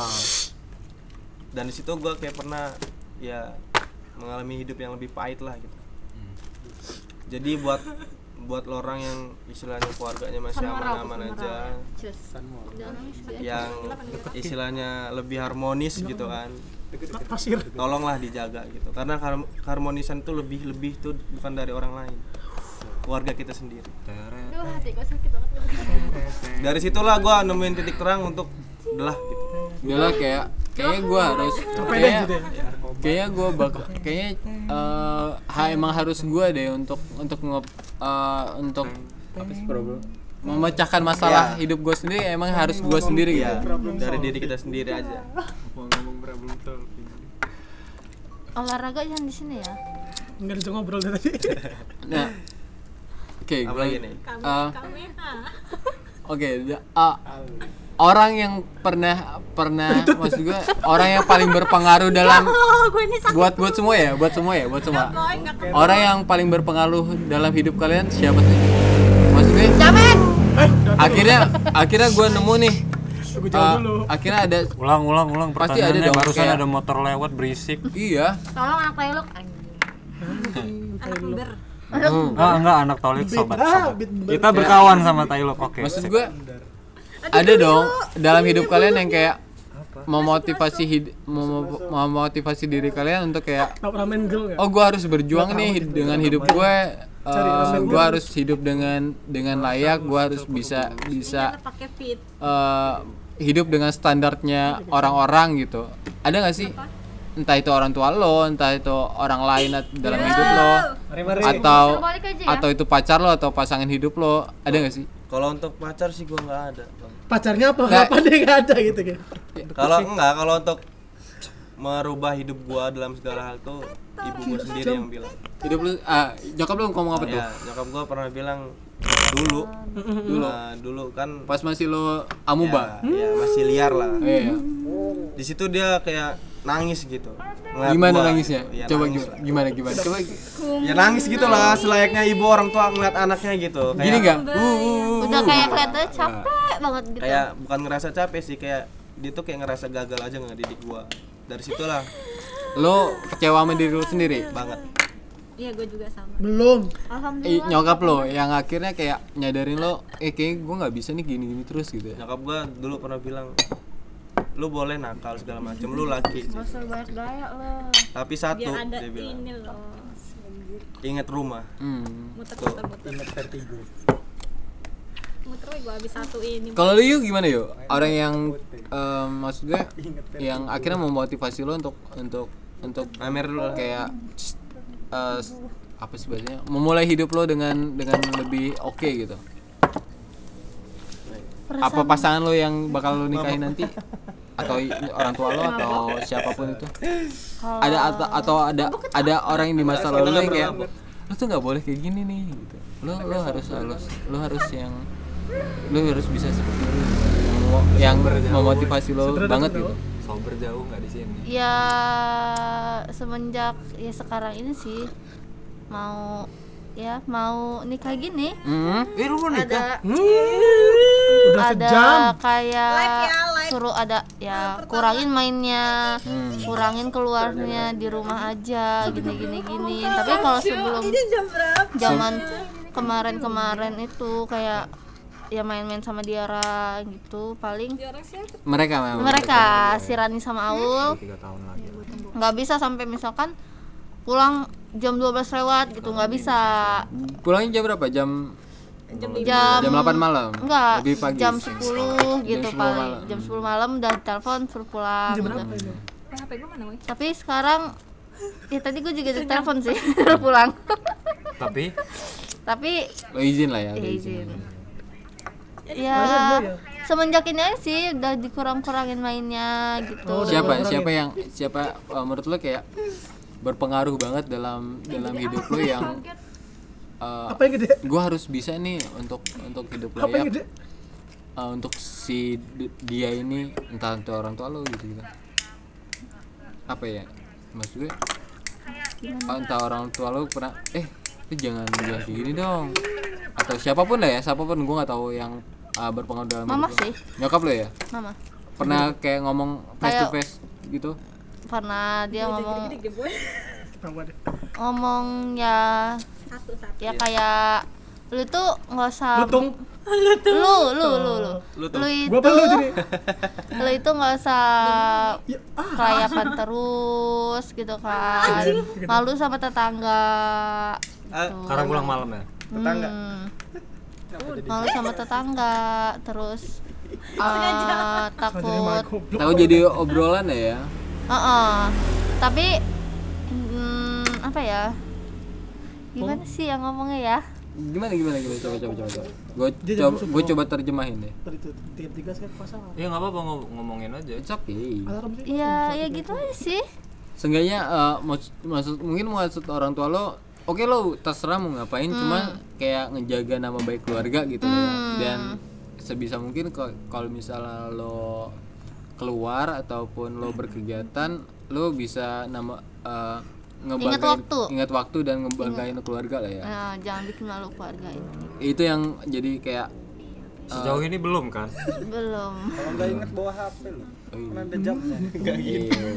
D: dan di situ gue kayak pernah ya mengalami hidup yang lebih pahit lah gitu
F: Hmm.
D: jadi buat buat lo orang yang istilahnya keluarganya masih aman-aman aja
E: Cus.
D: yang istilahnya lebih harmonis gitu kan
G: pasir
D: tolonglah dijaga gitu karena har- harmonisan itu lebih lebih tuh bukan dari orang lain keluarga kita sendiri
E: Aduh, hati gue sakit banget.
D: dari situlah gue nemuin titik terang untuk udahlah gitu
F: Udahlah Iya kayak kayaknya gue harus kayaknya kayaknya gue bakal kayaknya eh, ha- emang harus gue deh untuk untuk nge, eh, untuk apa sih problem Ya. memecahkan masalah hidup gue sendiri emang harus gue sendiri gitu.
D: Iya, dari diri kita sendiri aja
E: Olahraga jangan di sini ya.
G: nggak bisa ngobrol dari tadi
F: Nah, oke
D: apa
F: gua-
D: lagi nih
H: kami
F: Ah.
H: kami ah.
F: Oke, da- ah, orang yang pernah pernah maksud gue orang yang paling berpengaruh dalam
H: oh gue ini sakit
F: buat buat semua ya, buat semua ya, buat semua.
H: boy nggak ke-
F: Orang yang paling berpengaruh dalam hidup kalian siapa sih? Maksudnya? Akhirnya akhirnya gue nemu nih. ah, akhirnya ada
B: Ulang ulang ulang
F: Pasti ada dong, kayak-
B: motor lewat berisik.
F: iya.
E: Tolong anak peluk anjing.
H: anak ember
B: Enggak Ah, enggak anak Tolik sobat sobat. Kita berkawan sama Tailok oke.
F: Maksud gue ada dong dalam hidup kalian yang kayak memotivasi hid- memo- memotivasi diri kalian untuk kayak
G: Top ramen girl nggak
F: oh gue harus berjuang nih hid- dengan hidup gue gue harus hidup dengan dengan layak gue harus bisa bisa
H: pakai fit
F: eh, hidup dengan standarnya orang-orang gitu ada nggak sih entah itu orang tua lo entah itu orang lain at- dalam hidup lo atau
E: Suruh balik aja ya.
F: atau itu pacar lo atau pasangan hidup lo ada nggak sih
D: kalau untuk pacar sih gua nggak ada Bang.
G: pacarnya apa
F: Nggak.
G: apa deh nggak ada gitu kan
F: Ya,
D: kalau enggak kalau untuk merubah hidup gua dalam segala hal tuh ibu gua sendiri yang bilang
F: hidup lo ah, nyokap lo ngomong apa tuh
D: ya nyokap gua pernah bilang dulu dulu dulu kan
F: pas masih lo amuba
D: ya, ya, Hmm. masih liar lah
F: Iya.
D: di situ dia kayak nangis gitu ngeliat
F: gimana
D: gua.
F: nangisnya
D: Ya,
F: coba
D: nangis
F: gimana, gimana gimana coba
D: lah. ya nangis gitu lah selayaknya ibu orang tua ngeliat anaknya gitu kayak,
F: gini nggak Uh, uh, uh,
E: Udah kayak kelihatannya capek banget gitu.
D: kayak bukan ngerasa capek sih kayak dia tuh kayak ngerasa gagal aja ngedidik gua dari situlah
F: lo kecewa sama diri lo sendiri
D: banget
H: iya gue juga sama
G: belum
F: Eh, nyokap lo yang akhirnya kayak nyadarin lo eh kayak gue nggak bisa nih gini gini terus gitu ya
D: nyokap gua dulu pernah bilang lu boleh nakal segala macem lu laki
E: Suruh banyak gaya lo.
D: tapi satu
H: biar ada
D: dia bilang
H: ini loh
D: inget rumah
F: hmm.
H: muter muter muter muter weh gue habis satu ini
F: kalau lo yuk gimana yuk orang yang em, maksud gue yang akhirnya memotivasi lo untuk untuk untuk
D: Amer dulu lah
F: kayak eh, apa sih bahasanya memulai hidup lo dengan dengan lebih oke gitu apa pasangan lo yang bakal lo nikahin nanti atau i- orang tua lo atau siapapun itu ada atau, atau ada ada orang yang di masa lalu yang kayak lo tuh nggak boleh kayak gini nih gitu lo lo harus harus lo harus yang lo harus bisa seperti itu yang memotivasi lo banget gitu
J: Sober jauh nggak di sini.
E: Ya semenjak ya sekarang ini sih mau ya mau nikah gini
F: Hmm.
E: ada
G: udah sejam
E: ada kayak suruh ada ya kurangin mainnya
G: Hmm.
E: kurangin keluarnya di rumah aja gini gini gini tapi kalau sebelum zaman kemarin-kemarin itu kayak ya main-main sama Diara gitu paling
F: mereka memang
E: mereka si Rani sama Aul nggak bisa sampai misalkan pulang jam 12 lewat gitu nggak bisa
F: pulangnya jam berapa jam
E: jam
F: jam 8 malam
E: Enggak,
F: lebih pagi
E: jam 10 gitu
F: 10
E: paling
F: malam.
E: Jam 10 malam udah telepon suruh pulang gitu.
H: hp gue mana weh
E: Tapi sekarang Ya tadi gue juga ditelepon sih suruh pulang
B: Tapi
C: tapi
F: Lo izin lah ya.
C: ya
E: Iya.
F: lo
C: izin
E: eh, ya semenjak ini aja sih udah dikurang-kurangin mainnya gitu
F: Oh, siapa siapa yang siapa uh, menurut lo kayak berpengaruh banget dalam dalam hidup lo yang uh,
G: Apa yang gede?
F: gue harus bisa nih untuk untuk hidup
G: Apa
F: ya.
G: gitu? yang
F: layak
G: gede?
F: uh, untuk si d- dia ini entah itu orang tua lo gitu gitu apa ya maksud gue oh, entah orang tua lo pernah eh lu jangan jangan kayak gini dong atau siapapun lah ya siapapun gue nggak tahu yang uh, berpengaruh dalam
E: mama
F: hidup lo.
E: sih
F: nyokap lo ya
E: mama
F: pernah kayak ngomong face to
E: Kayak-
F: face gitu
E: karena dia ngomong
G: Tahu deh.
E: ngomong ya ya kayak lu tuh nggak usah
G: Lutung.
E: lu lu lu lu
D: Lu
E: lu
D: tuh.
E: itu
G: Gua perlu jadi.
E: lu itu nggak usah kelayapan terus gitu kan malu sama tetangga
D: Ah,
I: Karena pulang malam ya.
D: tetangga
E: Hmm. malu sama tetangga terus eh, takut
G: Goblok.
F: tahu jadi obrolan ya ya
E: Heeh. Tapi mm, apa ya? Gimana sih yang ngomongnya ya?
F: gimana gimana gimana coba coba coba coba gue
G: Dia jadi
F: coba
G: musuh
F: gue coba terjemahin deh
G: Tiga tiga kan pasangan.
B: Ya nggak apa-apa ngom- ngomongin aja.
F: it's okay
G: Alarm sih.
E: Ya, ya gitu aja sih.
F: seenggaknya eh, maksud, maksud mungkin maksud orang tua lo oke lo terserah mau ngapain cuma kayak ngejaga nama baik keluarga gitu loh ya dan sebisa mungkin ko- kalau misalnya lo keluar ataupun lo berkegiatan lo bisa nama eh, ngebanggain-
E: waktu.
F: ingat waktu dan ngebanggain keluarga lah ya
E: Nah, jangan bikin malu keluarga ini.
F: itu yang jadi kayak
B: Sejauh ini belum kan?
E: Belum.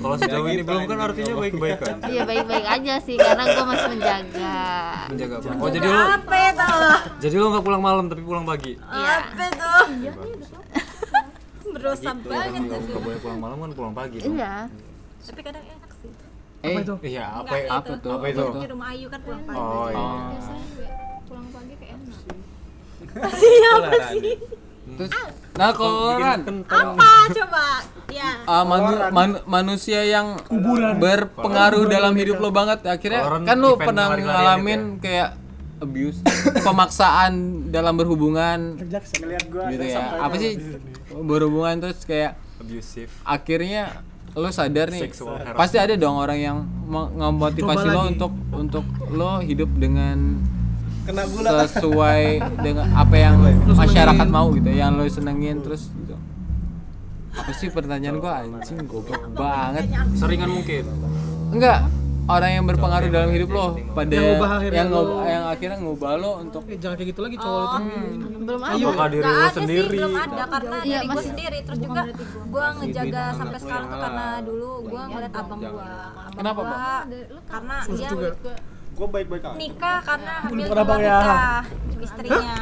B: Kalau sejauh ini belum kan artinya baik-baik kan?
E: Iya baik-baik aja sih karena gue masih menjaga.
B: Menjaga apa? Oh jadi lo
H: Apa ya tau?
B: jadi lo nggak pulang malam tapi pulang pagi?
H: Iya,
E: Iya.
H: Apa tuh? Berdosa banget
B: Nggak Iya, nggak boleh pulang malam kan pulang pagi. dong.
E: Iya.
H: Tapi kadang enak sih
F: eh
B: Iya apa?
H: Enggak,
F: apa tuh apa itu
H: Di rumah Ayu kan pulang pagi
B: Oh iya.
F: terus nah kalau Ran,
H: Apa coba? Ya
F: Ah, manu- manu- manusia yang berpengaruh dalam hidup lo banget akhirnya
B: Koran
F: kan lo
B: event
F: pernah
B: hari-harian
F: ngalamin kayak abuse pemaksaan dalam berhubungan gitu ya apa sih berhubungan terus kayak
B: Abusive.
F: akhirnya lo sadar nih
B: Sexual harassment.
F: pasti ada dong orang yang me- ngemotivasi
G: Coba
F: lo
G: lagi.
F: untuk untuk lo hidup dengan
D: kena gula
F: sesuai dengan apa yang masyarakat mau gitu yang lo senengin terus gitu apa sih pertanyaan gua anjing goblok banget
B: Seringan mungkin.
F: enggak orang yang berpengaruh dalam hidup lo pada
G: Yang ngubah akhirnya
F: yang, ngob-
G: lo.
F: yang akhirnya ngubah lo untuk
G: Eh, Jangan kayak gitu lagi cowok itu.
E: Belum ada.
B: Apakah diri
H: Gak
B: lo
H: ada sih,
B: sendiri?
H: belum ada karena
E: Iya,
H: dari gue
E: masih-
H: sendiri terus juga gue ngejaga sampai sekarang tuh karena dulu
E: Iya,
H: gue ngeliat abang gue abang
F: Kenapa,
H: gua, karena dia
I: Gue baik-baik aja.
H: nikah karena hamil
G: pernah
H: dua
G: bang ya.
H: nikah istrinya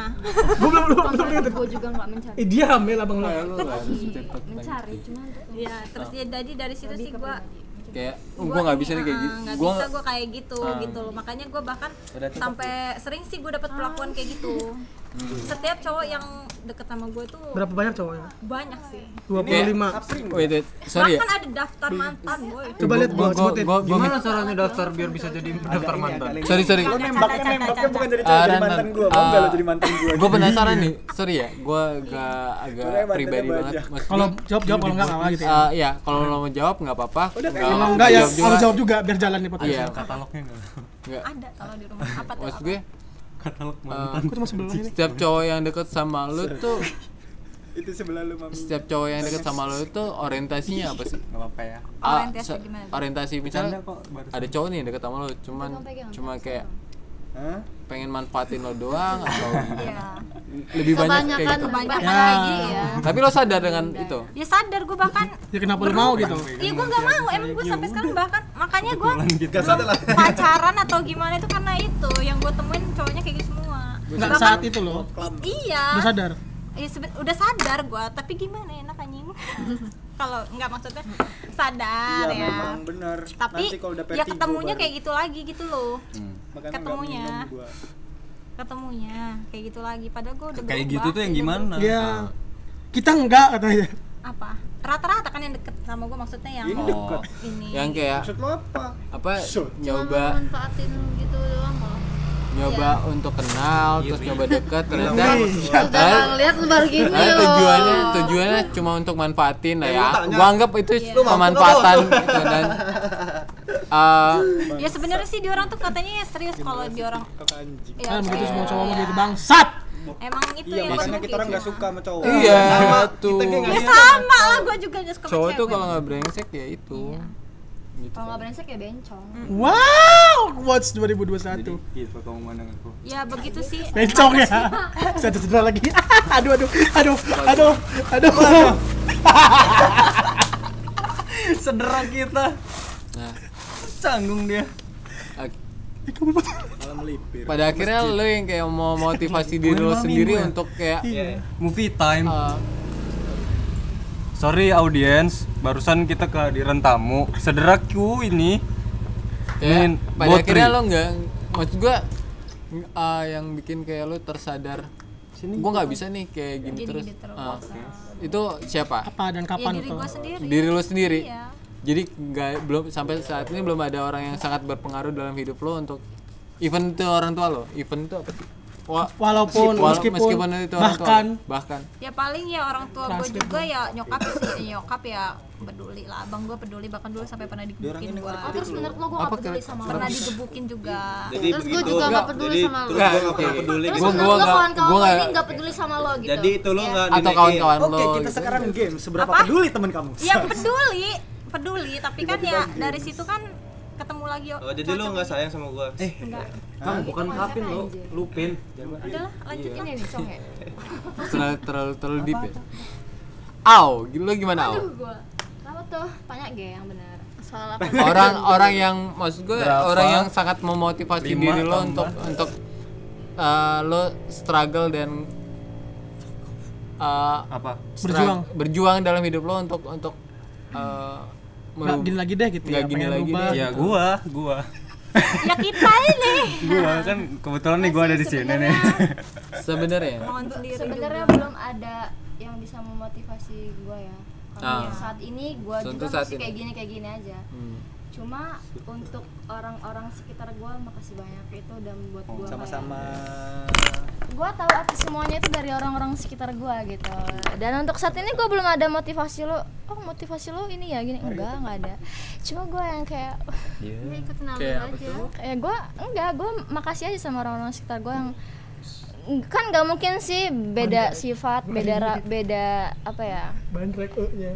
G: Gue belum belum belum belum. Gue juga nggak mencari. Eh dia hamil abang lo.
F: kan,
H: ya terus ya jadi dari situ sih gue
F: kayak oh, gua nggak bisa nih kayak gitu
H: Ah, nggak
F: gua Ah.
H: bisa gue kayak gitu gitu loh makanya gue bahkan sampai sering sih gue dapet perlakuan kayak gitu
F: Hmm.
H: setiap cowok yang deket sama gue tuh
G: Berapa banyak cowoknya?
H: banyak sih
G: 25
F: wait, wait, sorry ya
H: bahkan ada daftar mantan boy
G: Coba lihat
F: gua
G: gua
F: gua
G: sebutin.
F: gua, gua
B: Gimana caranya daftar biar bisa jadi daftar mantan?
F: sorry sorry
H: Caca, caca, caca.
I: jadi
F: Ah, Ran, Ran. Ah,
I: mantan gue?
F: gua penasaran nih sorry ya gua agak agak pribadi banget maksudnya
G: Kalau jawab jawab kalau enggak enggak gitu ya.
F: Eh, ya kalau lo mau jawab nggak apa-apa
G: Kalau
F: kalau
G: enggak ya
F: jawab juga.
G: harus jawab juga biar jalan nih podcast.
F: iya
B: Katalognya nggak?
F: nggak
H: ada kalau di rumah apa tuh
F: maksud gue
B: Katalog
F: eh,
G: Aku cuma sebelah sini.
F: setiap cowok yang deket sama lo tuh
I: Itu sebelah lu mami.
F: setiap cowok yang deket sama lo itu orientasinya apa sih?
I: Gak apa ya.
F: Ah,
H: Orientasi
F: se-
H: gimana?
F: orientasi misalnya
I: Canda kok baru.
F: ada cowok nih yang deket sama lo, cuman cuma kayak
I: Hah?
F: pengen manfaatin lo doang atau gimana?
H: Iya.
F: lebih banyak kayak
E: Kebanyakan
F: gitu.
H: banyak
G: Ya.
H: kayak gini ya
F: Tapi lo sadar dengan itu?
H: ya sadar gue bahkan
G: Ya kenapa lu mau gitu?
H: Iya gue nggak mau emang gue sampai sekarang bahkan makanya gue
F: gitu.
H: pacaran atau gimana itu karena itu yang gue temuin cowoknya kayak gitu semua
G: Enggak saat itu loh.
H: iya
G: Udah sadar.
H: Iya, seben- udah sadar gue tapi gimana enak anjing kalau nggak maksudnya sadar
I: Iya,
H: ya
I: memang benar.
H: tapi
I: Nanti kalau udah
H: ya ketemunya kayak gitu lagi gitu loh
I: Hmm,
H: ketemunya.
I: Gua.
H: ketemunya kayak gitu lagi padahal gue udah
B: Kayak
H: berubah,
B: gitu tuh yang
H: udah
B: gimana?
G: Iya. Kita enggak katanya.
H: apa rata-rata kan yang deket sama gue maksudnya yang
I: Ini dekat.
H: ini
F: Yang kayak
I: Maksud lo apa?
F: apa
I: Shoot.
F: nyoba
E: Manfaatin gitu doang loh.
F: nyoba untuk kenal terus nyoba deket
D: Iya,
F: ternyata
K: Udah
F: ternyata-
K: ngeliat lu baru gini
F: ternyata
K: loh.
F: tujuannya tujuannya cuma untuk manfaatin lah ya
D: Eh, lu tanya.
F: gua anggap itu
D: Lu mampu
F: pemanfaatan gitu dan eh,
H: ya sebenarnya sih di orang tuh katanya ya serius kalau di orang ya,
G: kan begitu
F: Iya.
H: serius.
G: semua cowok mau jadi bangsat
H: emang
I: Iya,
H: itu ya
L: Iya, Makanya kita orang nggak suka sama cowok.
F: iya tuh
H: ya sama lah gue juga nggak suka sama
F: cowok tuh
H: cewek.
F: kalau nggak brengsek ya itu
E: Kalau nggak brengsek ya bencong.
G: wow watch 2021
B: Gitu pemandangan aku.
H: ya begitu sih
G: bencong ya saya cedera lagi aduh aduh aduh aduh aduh
B: Sederah kita.
F: Nah.
B: Canggung dia.
F: Ak-
B: Malah melipir.
F: pada akhirnya lo yang kayak mau motivasi diri lo sendiri
D: ya.
F: untuk kayak
D: Iya.
B: Movie time.
F: eh,
B: Sorry audiens, barusan kita kehadiran tamu. Sederah Q ini.
F: kayak
B: Main
F: pada
B: botri.
F: akhirnya lo nggak maksud gua eh, yang bikin kayak lo tersadar gua nggak bisa nih kayak gini terus Ah. itu siapa
G: apa dan
H: ya
G: kapan
H: diri
G: tuh
H: gue sendiri
F: diri lo sendiri
H: Iya.
F: jadi nggak belum sampai saat ini belum ada orang yang sangat berpengaruh dalam hidup lo untuk event itu orang tua lo event itu apa sih Wah,
G: Walaupun,
F: wala-
G: meskipun,
F: itu orang tua lo.
G: bahkan.
F: bahkan
H: ya paling ya orang tua gue juga ya nyokap sih nyokap ya peduli lah abang gue peduli bahkan dulu sampai pernah digebukin gue
E: Oh, terus menurut lo gue nggak peduli sama lo.
H: pernah digebukin juga
D: Jadi
E: Terus gue
D: begitu.
E: juga nggak peduli sama Gitu. lo.
D: Terus gue gak pernah
L: Iya.
D: peduli.
E: Terus
F: Gua-
E: menurut
F: gua
E: lo
F: nggak-
E: kawan-kawan
F: gua
E: lo ini
F: nggak-
E: nggak peduli sama lo gitu.
D: Jadi itu lu nggak
F: atau
D: dinaikin.
F: kawan-kawan lo
L: Oke, kita
F: gitu.
L: sekarang game. Seberapa
H: Apa?
L: peduli teman kamu?
H: ya peduli peduli tapi kan ya dari situ kan ketemu lagi
D: Oh, jadi lu nggak sayang sama gue. Eh,
B: Kamu bukan kapin lo, lu pin.
H: udah lah, lanjutin
D: Iya.
E: Ini bencong ya.
F: terlalu terlalu terlalu deep ya Au, lo gimana au?
E: Gue. Tahu tuh, tanya ge yang benar.
K: Soal apa?
F: orang orang yang maksud gue
B: Berapa?
F: orang yang sangat memotivasi
B: Lima
F: diri lo
B: tambah.
F: untuk untuk uh, lo struggle dan uh,
B: Apa?
F: berjuang berjuang dalam hidup lo untuk untuk uh,
G: nggak
F: merub-
G: gini lagi deh gitu
F: nggak
G: ya
F: gini
G: pengen
F: lagi
G: berubah
F: deh. Iya.
B: Ya gua, gua.
H: ya kita ini
B: Gua kan kebetulan nih gua ada di sini nih.
E: Iya.
F: sebenarnya
H: mohon sendiri
E: Sebenarnya belum ada yang bisa memotivasi gue ya. Karena
F: Ah.
E: saat ini gue
F: Untuk
E: juga
F: saat
E: masih
F: ini. Hmm.
E: kayak gini kayak gini aja. Cuma untuk orang-orang sekitar gue makasih banyak itu udah membuat gue
L: Sama-sama.
E: gue tahu arti semuanya itu dari orang-orang sekitar gue gitu dan untuk saat ini gue belum ada motivasi lo oh motivasi lo ini ya gini enggak enggak ada cuma gue yang kayak
F: kayak apa tuh
E: kayak gue enggak gue makasih aja sama orang-orang sekitar gue yang kan nggak mungkin sih beda sifat beda ra- beda apa ya
G: bandrek E nya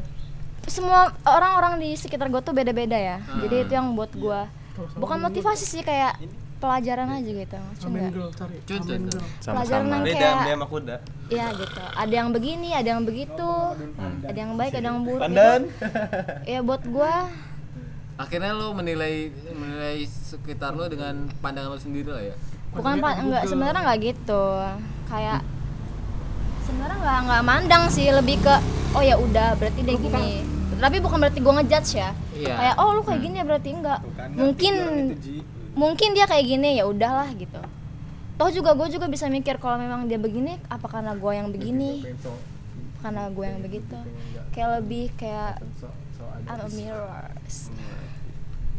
E: semua orang-orang di sekitar gue tuh beda-beda ya jadi itu yang buat gue bukan motivasi sih kayak pelajaran aja gitu
G: amen
F: ya.
E: cuma
G: girl cari
F: Cucu
G: amen
F: tuh.
G: girl
E: pelajaran yang
D: beda
E: kayak
D: dia sama kuda.
E: Iya gitu. Ada yang begini, ada yang begitu, ada yang baik, ada yang buruk. Jadi, Ya buat gua
F: akhirnya lo menilai menilai sekitar lo dengan pandangan lo sendiri lah ya
E: bukan pa- enggak sebenarnya enggak gitu. Kayak sebenarnya enggak enggak mandang sih, lebih ke oh ya udah berarti dia gini. Tapi bukan berarti gua ngejudge ya.
F: Iya.
E: Kayak oh lu kayak gini ya berarti enggak. Mungkin
F: gitu
E: mungkin dia kayak gini ya udahlah gitu. Toh juga gue juga bisa mikir kalau memang dia begini apa karena gua yang begini? Karena gua yang
F: gitu,
E: begitu. Kayak lebih kayak I'm a mirrors.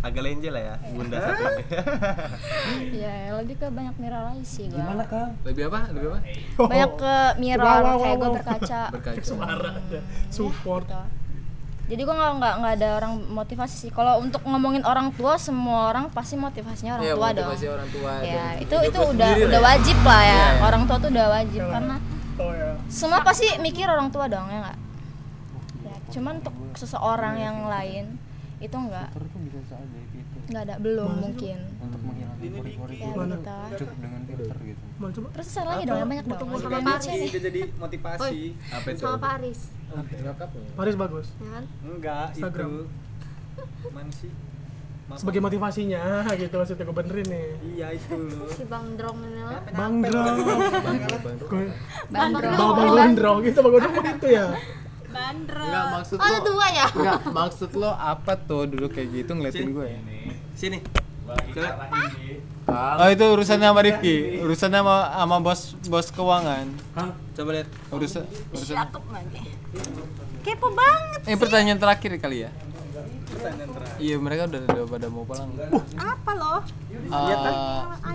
D: Agak lenje lah ya, bunda satu.
E: Ya, lebih ke banyak mirror aja sih gua.
G: ah.
F: lebih apa lebih apa
E: Banyak ke mirror kayak gua berkaca.
F: berkaca
G: support
E: gitu. Jadi gua nggak nggak nggak ada orang motivasi sih. Kalau untuk ngomongin orang tua, semua orang pasti motivasinya orang
F: Iya,
E: tua dong.
F: motivasi orang tua Iya,
E: Ya,
F: dan
E: itu
F: hidup
E: itu
F: lo
E: udah
F: sendiri
E: udah
F: lah ya.
E: wajib lah ya.
F: Iya, iya.
E: Orang tua tuh udah wajib karena
G: oh
E: iya.
G: ya
E: semua pasti mikir orang tua dong ya nggak. Ya, cuman untuk seseorang yang lain itu enggak
F: gitu.
E: nggak ada belum mungkin
B: Untuk menghilangkan pori-pori
E: ya gitu
B: cukup dengan filter gitu.
G: mau coba
E: terus selesai lagi dong yang banyak dong sama
L: Ini dia jadi motivasi.
D: Apa itu?
E: Paris
G: Paris bagus
E: ya kan
L: Enggak,
G: Instagram.
L: itu. Mana sih?
F: Iya.
L: Maaf.
G: sebagai motivasinya gitu maksudnya gue benerin nih
L: Iya itu loh.
E: si Bang Drong ini lah
G: bandrong
E: Bang Drong
G: bawa bandrong gitu bawa bandrong itu ya
F: Enggak maksud
E: oh ada
F: lo
E: dua ya
F: Enggak, maksud lo apa tuh dulu kayak gitu ngeliatin gue ya?
D: Sini. Coba.
F: Oh itu urusannya sama Rifki, urusannya sama, sama bos bos keuangan.
D: Coba lihat.
F: Urusan urusan.
H: cakep banget kepo banget
F: Eh pertanyaan terakhir kali ya.
L: Pertanyaan terakhir.
F: Iya mereka udah udah pada mau pulang.
H: Apa loh?
F: Uh, Iya, kan?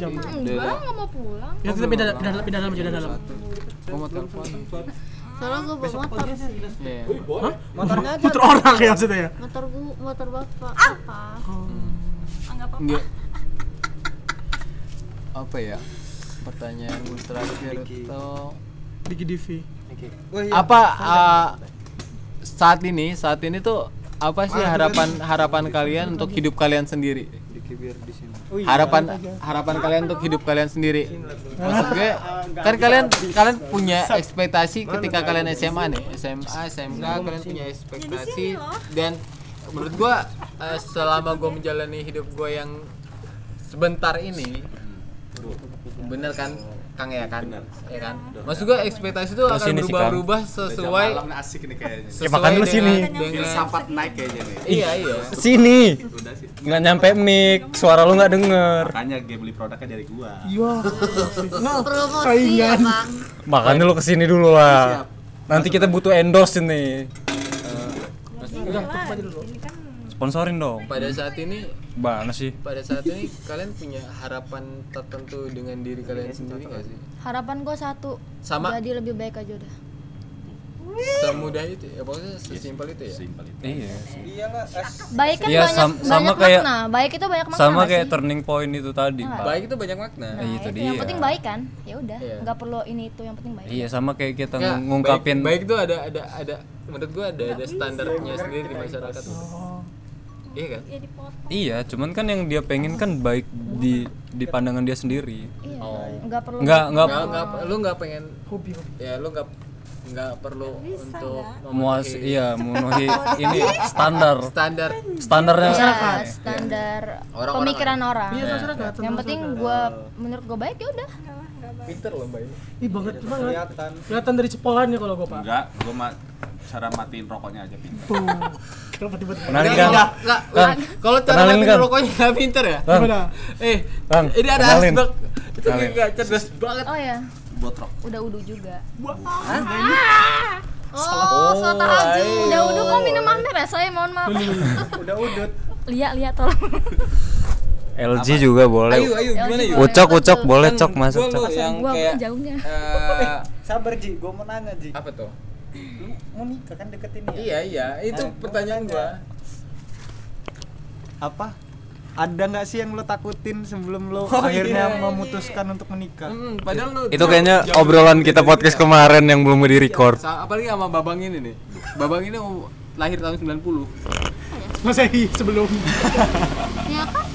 H: Jam.
E: Enggak, nggak mau pulang.
G: Ya kita pindah pindah dalam, pindah dalam, pindah dalam.
F: Gua mau telepon.
E: Soalnya gue bawa motor.
F: Iya.
G: Hah?
E: Motornya aja.
G: Motor orang ya maksudnya ya?
E: Motor gua, motor bapak. Apa?
H: Anggap apa?
F: Enggak. Apa ya? Pertanyaan terakhir itu
G: Diki Divi.
F: apa uh, saat ini saat ini tuh apa sih harapan harapan kalian untuk hidup kalian sendiri? Harapan harapan kalian untuk hidup kalian sendiri. Maksud gue kan kalian kalian punya ekspektasi ketika kalian SMA nih, SMA, SMK kalian punya ekspektasi dan menurut gua eh, selama gua menjalani hidup gua yang sebentar ini bener kan Kang ya kan? Ya kan? Maksud gua ekspektasi itu
B: Terus
F: akan
B: ini sih, Kang.
F: berubah-berubah sesuai
M: Udah jam malam Nah, asik nih kayaknya.
F: Ya, makan lu sini.
M: Filsafat naik kayaknya nih.
F: Iya, iya.
B: Sini.
M: Udah sih.
B: Nggak nyampe mic, suara lu nggak denger.
M: Makanya dia beli produknya dari gua.
G: Iya.
E: Nah, Promosi ya bang.
B: Makanya lu kesini dulu lah. Nanti kita butuh endorse ini.
E: kan
B: Sponsorin dong.
F: pada saat ini
B: Mana sih?
F: pada saat ini kalian punya harapan tertentu dengan diri kalian sendiri nggak sih?
E: Harapan gue satu.
F: Sama.
E: Jadi lebih baik aja udah.
F: Semudah itu ya pokoknya sesimpel itu ya.
B: Iya.
N: Iyalah,
E: Baik kan
B: Iya,
E: banyak,
B: sam- sama
E: banyak
B: kayak-
E: makna. Baik itu banyak makna.
B: Sama
E: nggak
B: kayak
E: sih?
B: turning point itu tadi,
E: Nggak.
B: Pak.
F: Baik itu banyak makna.
B: Nah, itu
E: Itu
B: dia.
E: yang penting baik kan? Ya udah,
F: Iya.
E: nggak perlu ini itu yang penting baik.
B: Iya, sama kayak kita
F: Nggak,
B: ng- ngungkapin
F: Ya, baik, baik itu ada ada ada menurut gua ada ada standarnya sendiri di masyarakat. Iya kan?
B: Iya, cuman kan yang dia pengen kan baik di di pandangan dia sendiri.
E: Iya. Nggak perlu.
B: Nggak, nggak-
F: Nggak- nggak lu nggak pengen hobi ya lu nggak nggak perlu untuk
B: Muas iya memenuhi ini standar
F: standar
B: standarnya
E: Iya, standar
F: Orang-orang
E: pemikiran
F: ada.
E: orang.
F: Iya, masyarakat,
E: Yang penting gua menurut gua baik ya udah.
F: Pinter loh mbak ini.
G: Ih banget banget.
M: Kelihatan.
G: Kelihatan dari cepolannya kalau gue pak.
M: Enggak, gua ma- cara matiin rokoknya aja pintar.
G: Tuh. Kenapa tiba-tiba?
B: Kenalin
F: Nggak,
B: kan.
F: nggak, nggak,
B: Kan.
F: nggak. Kalau cara
B: Kenalin,
F: matiin
B: Kan.
F: rokoknya nggak pinter ya?
B: Bang.
G: Gimana?
F: Eh,
B: Bang,
F: ini ada
B: kenalin.
F: asbak. Itu
B: Kenalin.
F: nggak cerdas banget.
E: Oh ya,
M: Botrok.
E: udah udu juga. Oh, so tahajud.
F: ayo.
E: Udah udu kok minum
F: Oh.
E: amer ya? Saya mohon maaf.
M: Udah udut.
E: Lia, Lia tolong.
B: LG juga boleh.
F: Ayo, ayo, gimana yuk?
B: Ucok, ucok, boleh cok
F: Gua
B: masuk
F: lu
B: cok.
F: yang
E: Iya, Gua
F: kayak
E: kan jauhnya.
F: eh,
D: Sabar Ji, gua mau nanya Ji.
F: apa tuh?
D: Lu mau nikah kan deket ini ya?
F: Iya, iya, itu
B: Eh.
F: pertanyaan gua.
D: Apa? Ada nggak sih yang lo takutin sebelum lo akhirnya memutuskan untuk menikah?
F: Hmm, padahal lu
B: Itu kayaknya obrolan kita podcast kemarin yang belum di-record.
F: Sa- apalagi sama Babang ini nih. Babang ini um- lahir tahun 90.
G: Masehi sebelum.
E: Ya kan?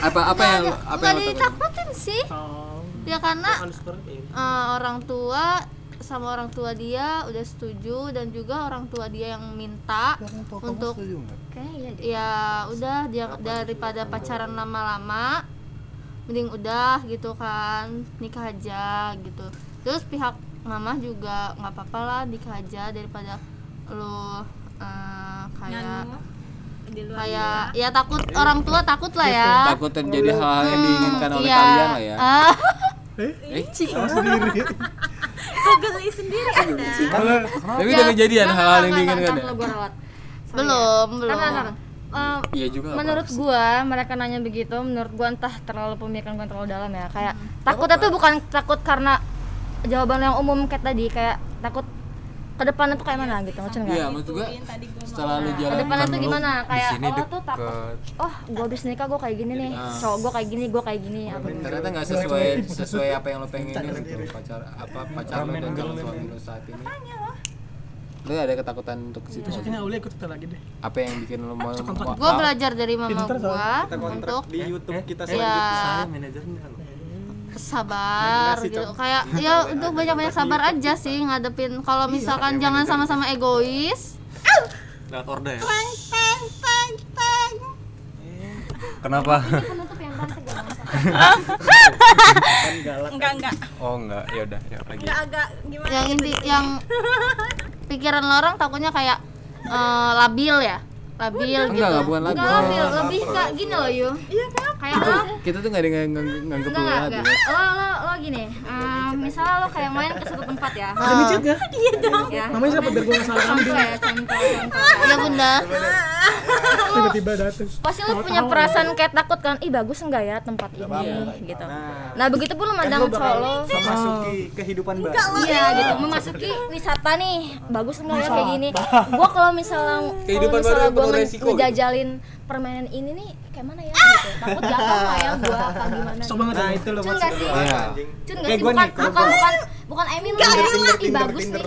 F: Apa apa yang apa
E: Iya, nggak
F: yang lu takutin?
E: ditakutin sih
H: Oh.
E: ya karena eh, orang tua sama orang tua dia udah setuju dan juga orang tua dia yang minta untuk ya
H: iya
E: udah dia daripada pacaran lama-lama mending udah gitu kan nikah aja gitu terus pihak mama juga nggak apa-apa lah nikah aja daripada lu eh, kayak
H: Di luar
E: kayak ya takut orang tua takut lah ya
F: Takut terjadi hal-hal yang diinginkan oleh
E: iya.
F: kalian lah ya.
E: Ah,
F: Eh,
H: Google sendiri Anda.
F: tapi
E: iya.
F: udah kejadian hal-hal yang diinginkan ya?
E: belum belum Eh,
F: Iya juga. apa?
E: menurut gua mereka nanya begitu menurut gua entah terlalu pemikiran gua terlalu dalam ya kayak takutnya tuh bukan takut karena jawaban yang umum kayak tadi kayak takut ke depan itu kayak mana gitu maksudnya
F: Iya,
E: nggak
F: maksud gua
H: Yang tadi gua
F: setelah lu
E: ke
F: jalan
E: depan itu
B: Kan lu
E: gimana
B: di
E: kayak
B: sini
E: oh tuh takut
B: deket.
E: oh gua habis nikah gua kayak gini nih
F: Iya.
E: cowok gua kayak gini gua kayak gini apa gitu.
F: ternyata nggak sesuai sesuai apa yang lo pengenin gitu pacar apa pacar lo dan calon suami lo saat ini lo ada ketakutan untuk situ
E: Iya.
F: nggak sih?
G: Kayaknya Uli ikut kita lagi deh.
F: apa yang bikin lo mau mau-
E: gua belajar dari mama gua
M: Kita kontrak
E: untuk
M: di YouTube kita kan.
E: ya sabar gitu
M: Iya,
E: kayak ya untuk banyak-banyak sabar aja sih ngadepin kalau misalkan jangan sama-sama egois
M: Lewat order ya.
E: teng teng teng
B: Kenapa?
E: penutup yang cantik ya, Mas.
H: Enggak, enggak.
B: Oh enggak, ya udah, ya lagi.
H: Enggak agak gimana?
E: yang inti yang pikiran lo orang takutnya kayak eh, labil ya labil
F: enggak
E: gitu
F: enggak bukan lagu
E: Nggak labil lebih kayak gini loh Yu iya kayak lo
F: kita tuh nggak ada yang ngang- nganggep lo
E: enggak
F: lagu
E: enggak lo lo lo gini eh, misalnya lo kayak main ke suatu tempat ya
G: Ada micet nggak?
E: ya
G: Namanya siapa biar gue nggak salah
E: contoh ya contoh contoh ya bunda
G: tiba-tiba datang
C: pasti lu punya perasaan kayak takut kan ih bagus enggak ya tempat ini gitu nah begitu
B: Kan
C: pun lu mandang cowok lo
D: memasuki kehidupan baru
C: iya gitu memasuki wisata nih bagus enggak ya kayak gini gua kalau misalnya kalau
O: Kehidupan baru
C: misalnya gua
O: penuh
C: nge-
O: resiko gitu.
C: ngejajalin permainan ini nih kayak mana ya gitu. takut jatuh nggak ya gua apa gimana
D: Sok banget nah, itu lo
C: Cun nggak sih?
D: Iya.
C: Cun nggak
D: Kayak
C: sih?
D: gua
C: Bukan,
D: nih, kalau
C: bukan,
D: gua-
C: bukan, bukan Emil lu ya, ih bagus nih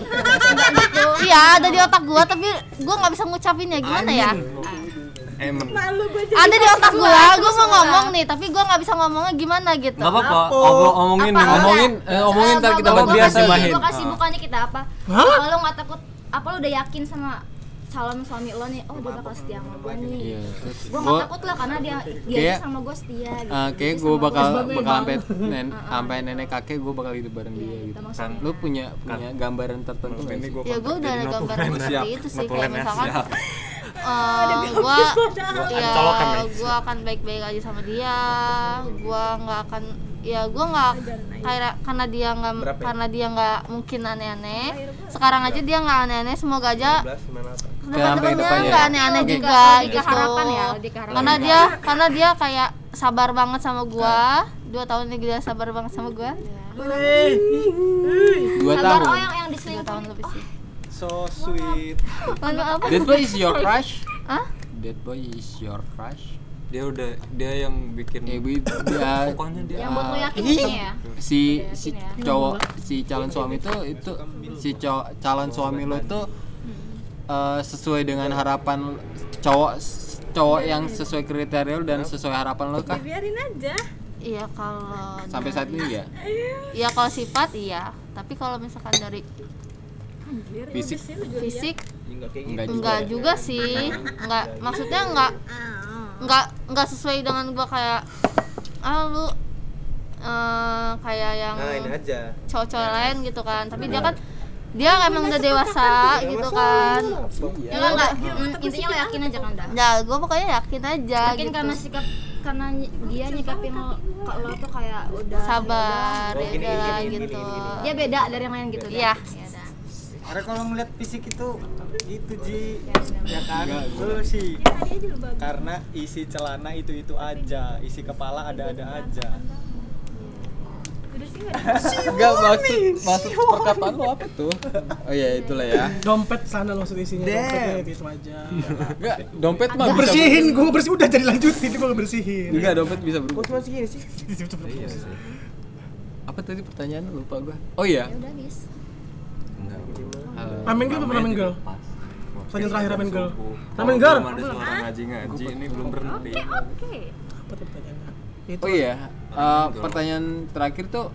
C: Gitu.
E: Iya, ada di otak gua tapi gua nggak bisa ngucapinnya gimana ya?
B: Emang.
E: Ada di otak gua,
C: Terus
E: gua mau
C: semua.
E: ngomong nih tapi gua nggak bisa ngomongnya gimana gitu.
F: Gak apa-apa, obrol- omongin
E: Apa?
F: Omongin, eh, omongin ntar kita
C: Gua
F: buat biasa
C: kasih,
F: bahin.
C: gua kasih bukannya kita apa
F: Hah?
C: Kalau lu nggak takut, apa lu udah yakin sama calon suami lo nih oh dia bakal setia sama gue nih
F: Iya, terus
C: gue
F: gua-
C: gak takut lah karena dia dia
F: Kayak-
C: aja sama gue setia gitu
F: Ah, kayak
C: Dia
F: gue
C: sama
F: bakal
C: gua setia.
F: bakal sampai nen, sampai nenek kakek gue bakal hidup bareng
E: Iya,
F: dia gitu. Kan lu punya punya gambaran tertentu nggak sih?
E: Ya gua udah ada gambaran seperti itu sih kayak misalkan
F: Ada
E: eh
F: bilang
E: gua
F: bisa.
E: ya
F: Colokan nih.
E: gua akan baik-baik aja sama dia gua nggak akan ya gua nggak karena karena dia nggak
P: Berapa ya?
E: karena dia nggak mungkin aneh-aneh sekarang aja dia nggak aneh-aneh semoga aja
P: 1998.
F: ya,
E: teman-temannya
P: depannya.
E: nggak aneh-aneh
P: Oke.
C: Iya,
E: juga
P: Lebih
E: gitu
P: keharapan ya,
C: lebih keharapan.
E: karena dia karena dia kayak sabar banget sama gua dua tahun ini dia sabar banget sama gua
C: Iya.
F: Dua
E: Sabar,
F: tahun.
E: oh
C: ya.
E: yang yang diselingkuh tahun lebih sih
D: so sweet
C: Oh,
E: Mohon maaf.
F: That boy is your crush.
E: Hah?
F: That boy is your crush. Eh,
B: Dia udah dia yang bikin
F: dia-
B: pokoknya dia
C: Yang buat lu yakin
F: Ih,
C: ini ya?
F: si si cowok si calon suami itu itu si cowok calon suami lo tuh eh, sesuai dengan harapan cowok cowok yang sesuai kriteria lo dan sesuai harapan lo kah
H: biarin aja
E: iya kalau
F: sampai saat ini ya
E: Iya kalau sifat iya, tapi kalau misalkan dari
H: Anjir,
F: Fisik.
H: udah sih lu jual dia.
E: fisik
P: gitu.
F: enggak juga
E: enggak
F: ya?
E: juga sih. Enggak maksudnya enggak enggak enggak sesuai dengan gua kayak ah lu eh, kayak yang
P: Nah, ini aja. Iya.
E: cowok-cowok lain gitu kan. Tapi dia kan dia emang udah dewasa gitu kan.
C: ya kan nggak mm, intinya lo yakin aja kan dah
E: Ya, gua pokoknya yakin aja
C: yakin
E: gitu.
C: karena sikap karena ny- dia nyikapin lo kalau lo tuh kayak udah
E: Sabar,
C: ya udah,
E: ya udah,
C: gini,
E: gitu.
C: dia beda dari yang lain gitu
E: Iya.
C: dah.
D: Karena kalau ngeliat fisik itu gitu Ji Ya kan? Lu sih
H: Ya,
D: Karena isi celana itu-itu aja Isi kepala
H: Iya,
D: ada-ada aja
F: enggak maksud maksud perkataan lo apa tuh oh ya itulah ya
G: dompet sana lo maksud isinya
F: Damn.
G: dompetnya itu aja
F: enggak dompet mah
G: Gua
F: bisa-
G: bersihin gue bersih udah jadi lanjutin gue bersihin
F: enggak dompet bisa berubah
D: cuma segini sih
F: Iya sih. apa tadi pertanyaan lupa gua oh iya
C: udah bis
F: Eh,
G: Ramen girl apa
F: namanya
G: ramen
F: juga
G: girl?
F: pas.
G: Pertanyaan terakhir ramen girl.
B: Subuh.
G: Ramen
B: Kalau
G: girl.
B: belum ada suara ngaji ngaji ini belum berhenti
C: oke
F: Oh iya, eh, pertanyaan terakhir tuh Oh,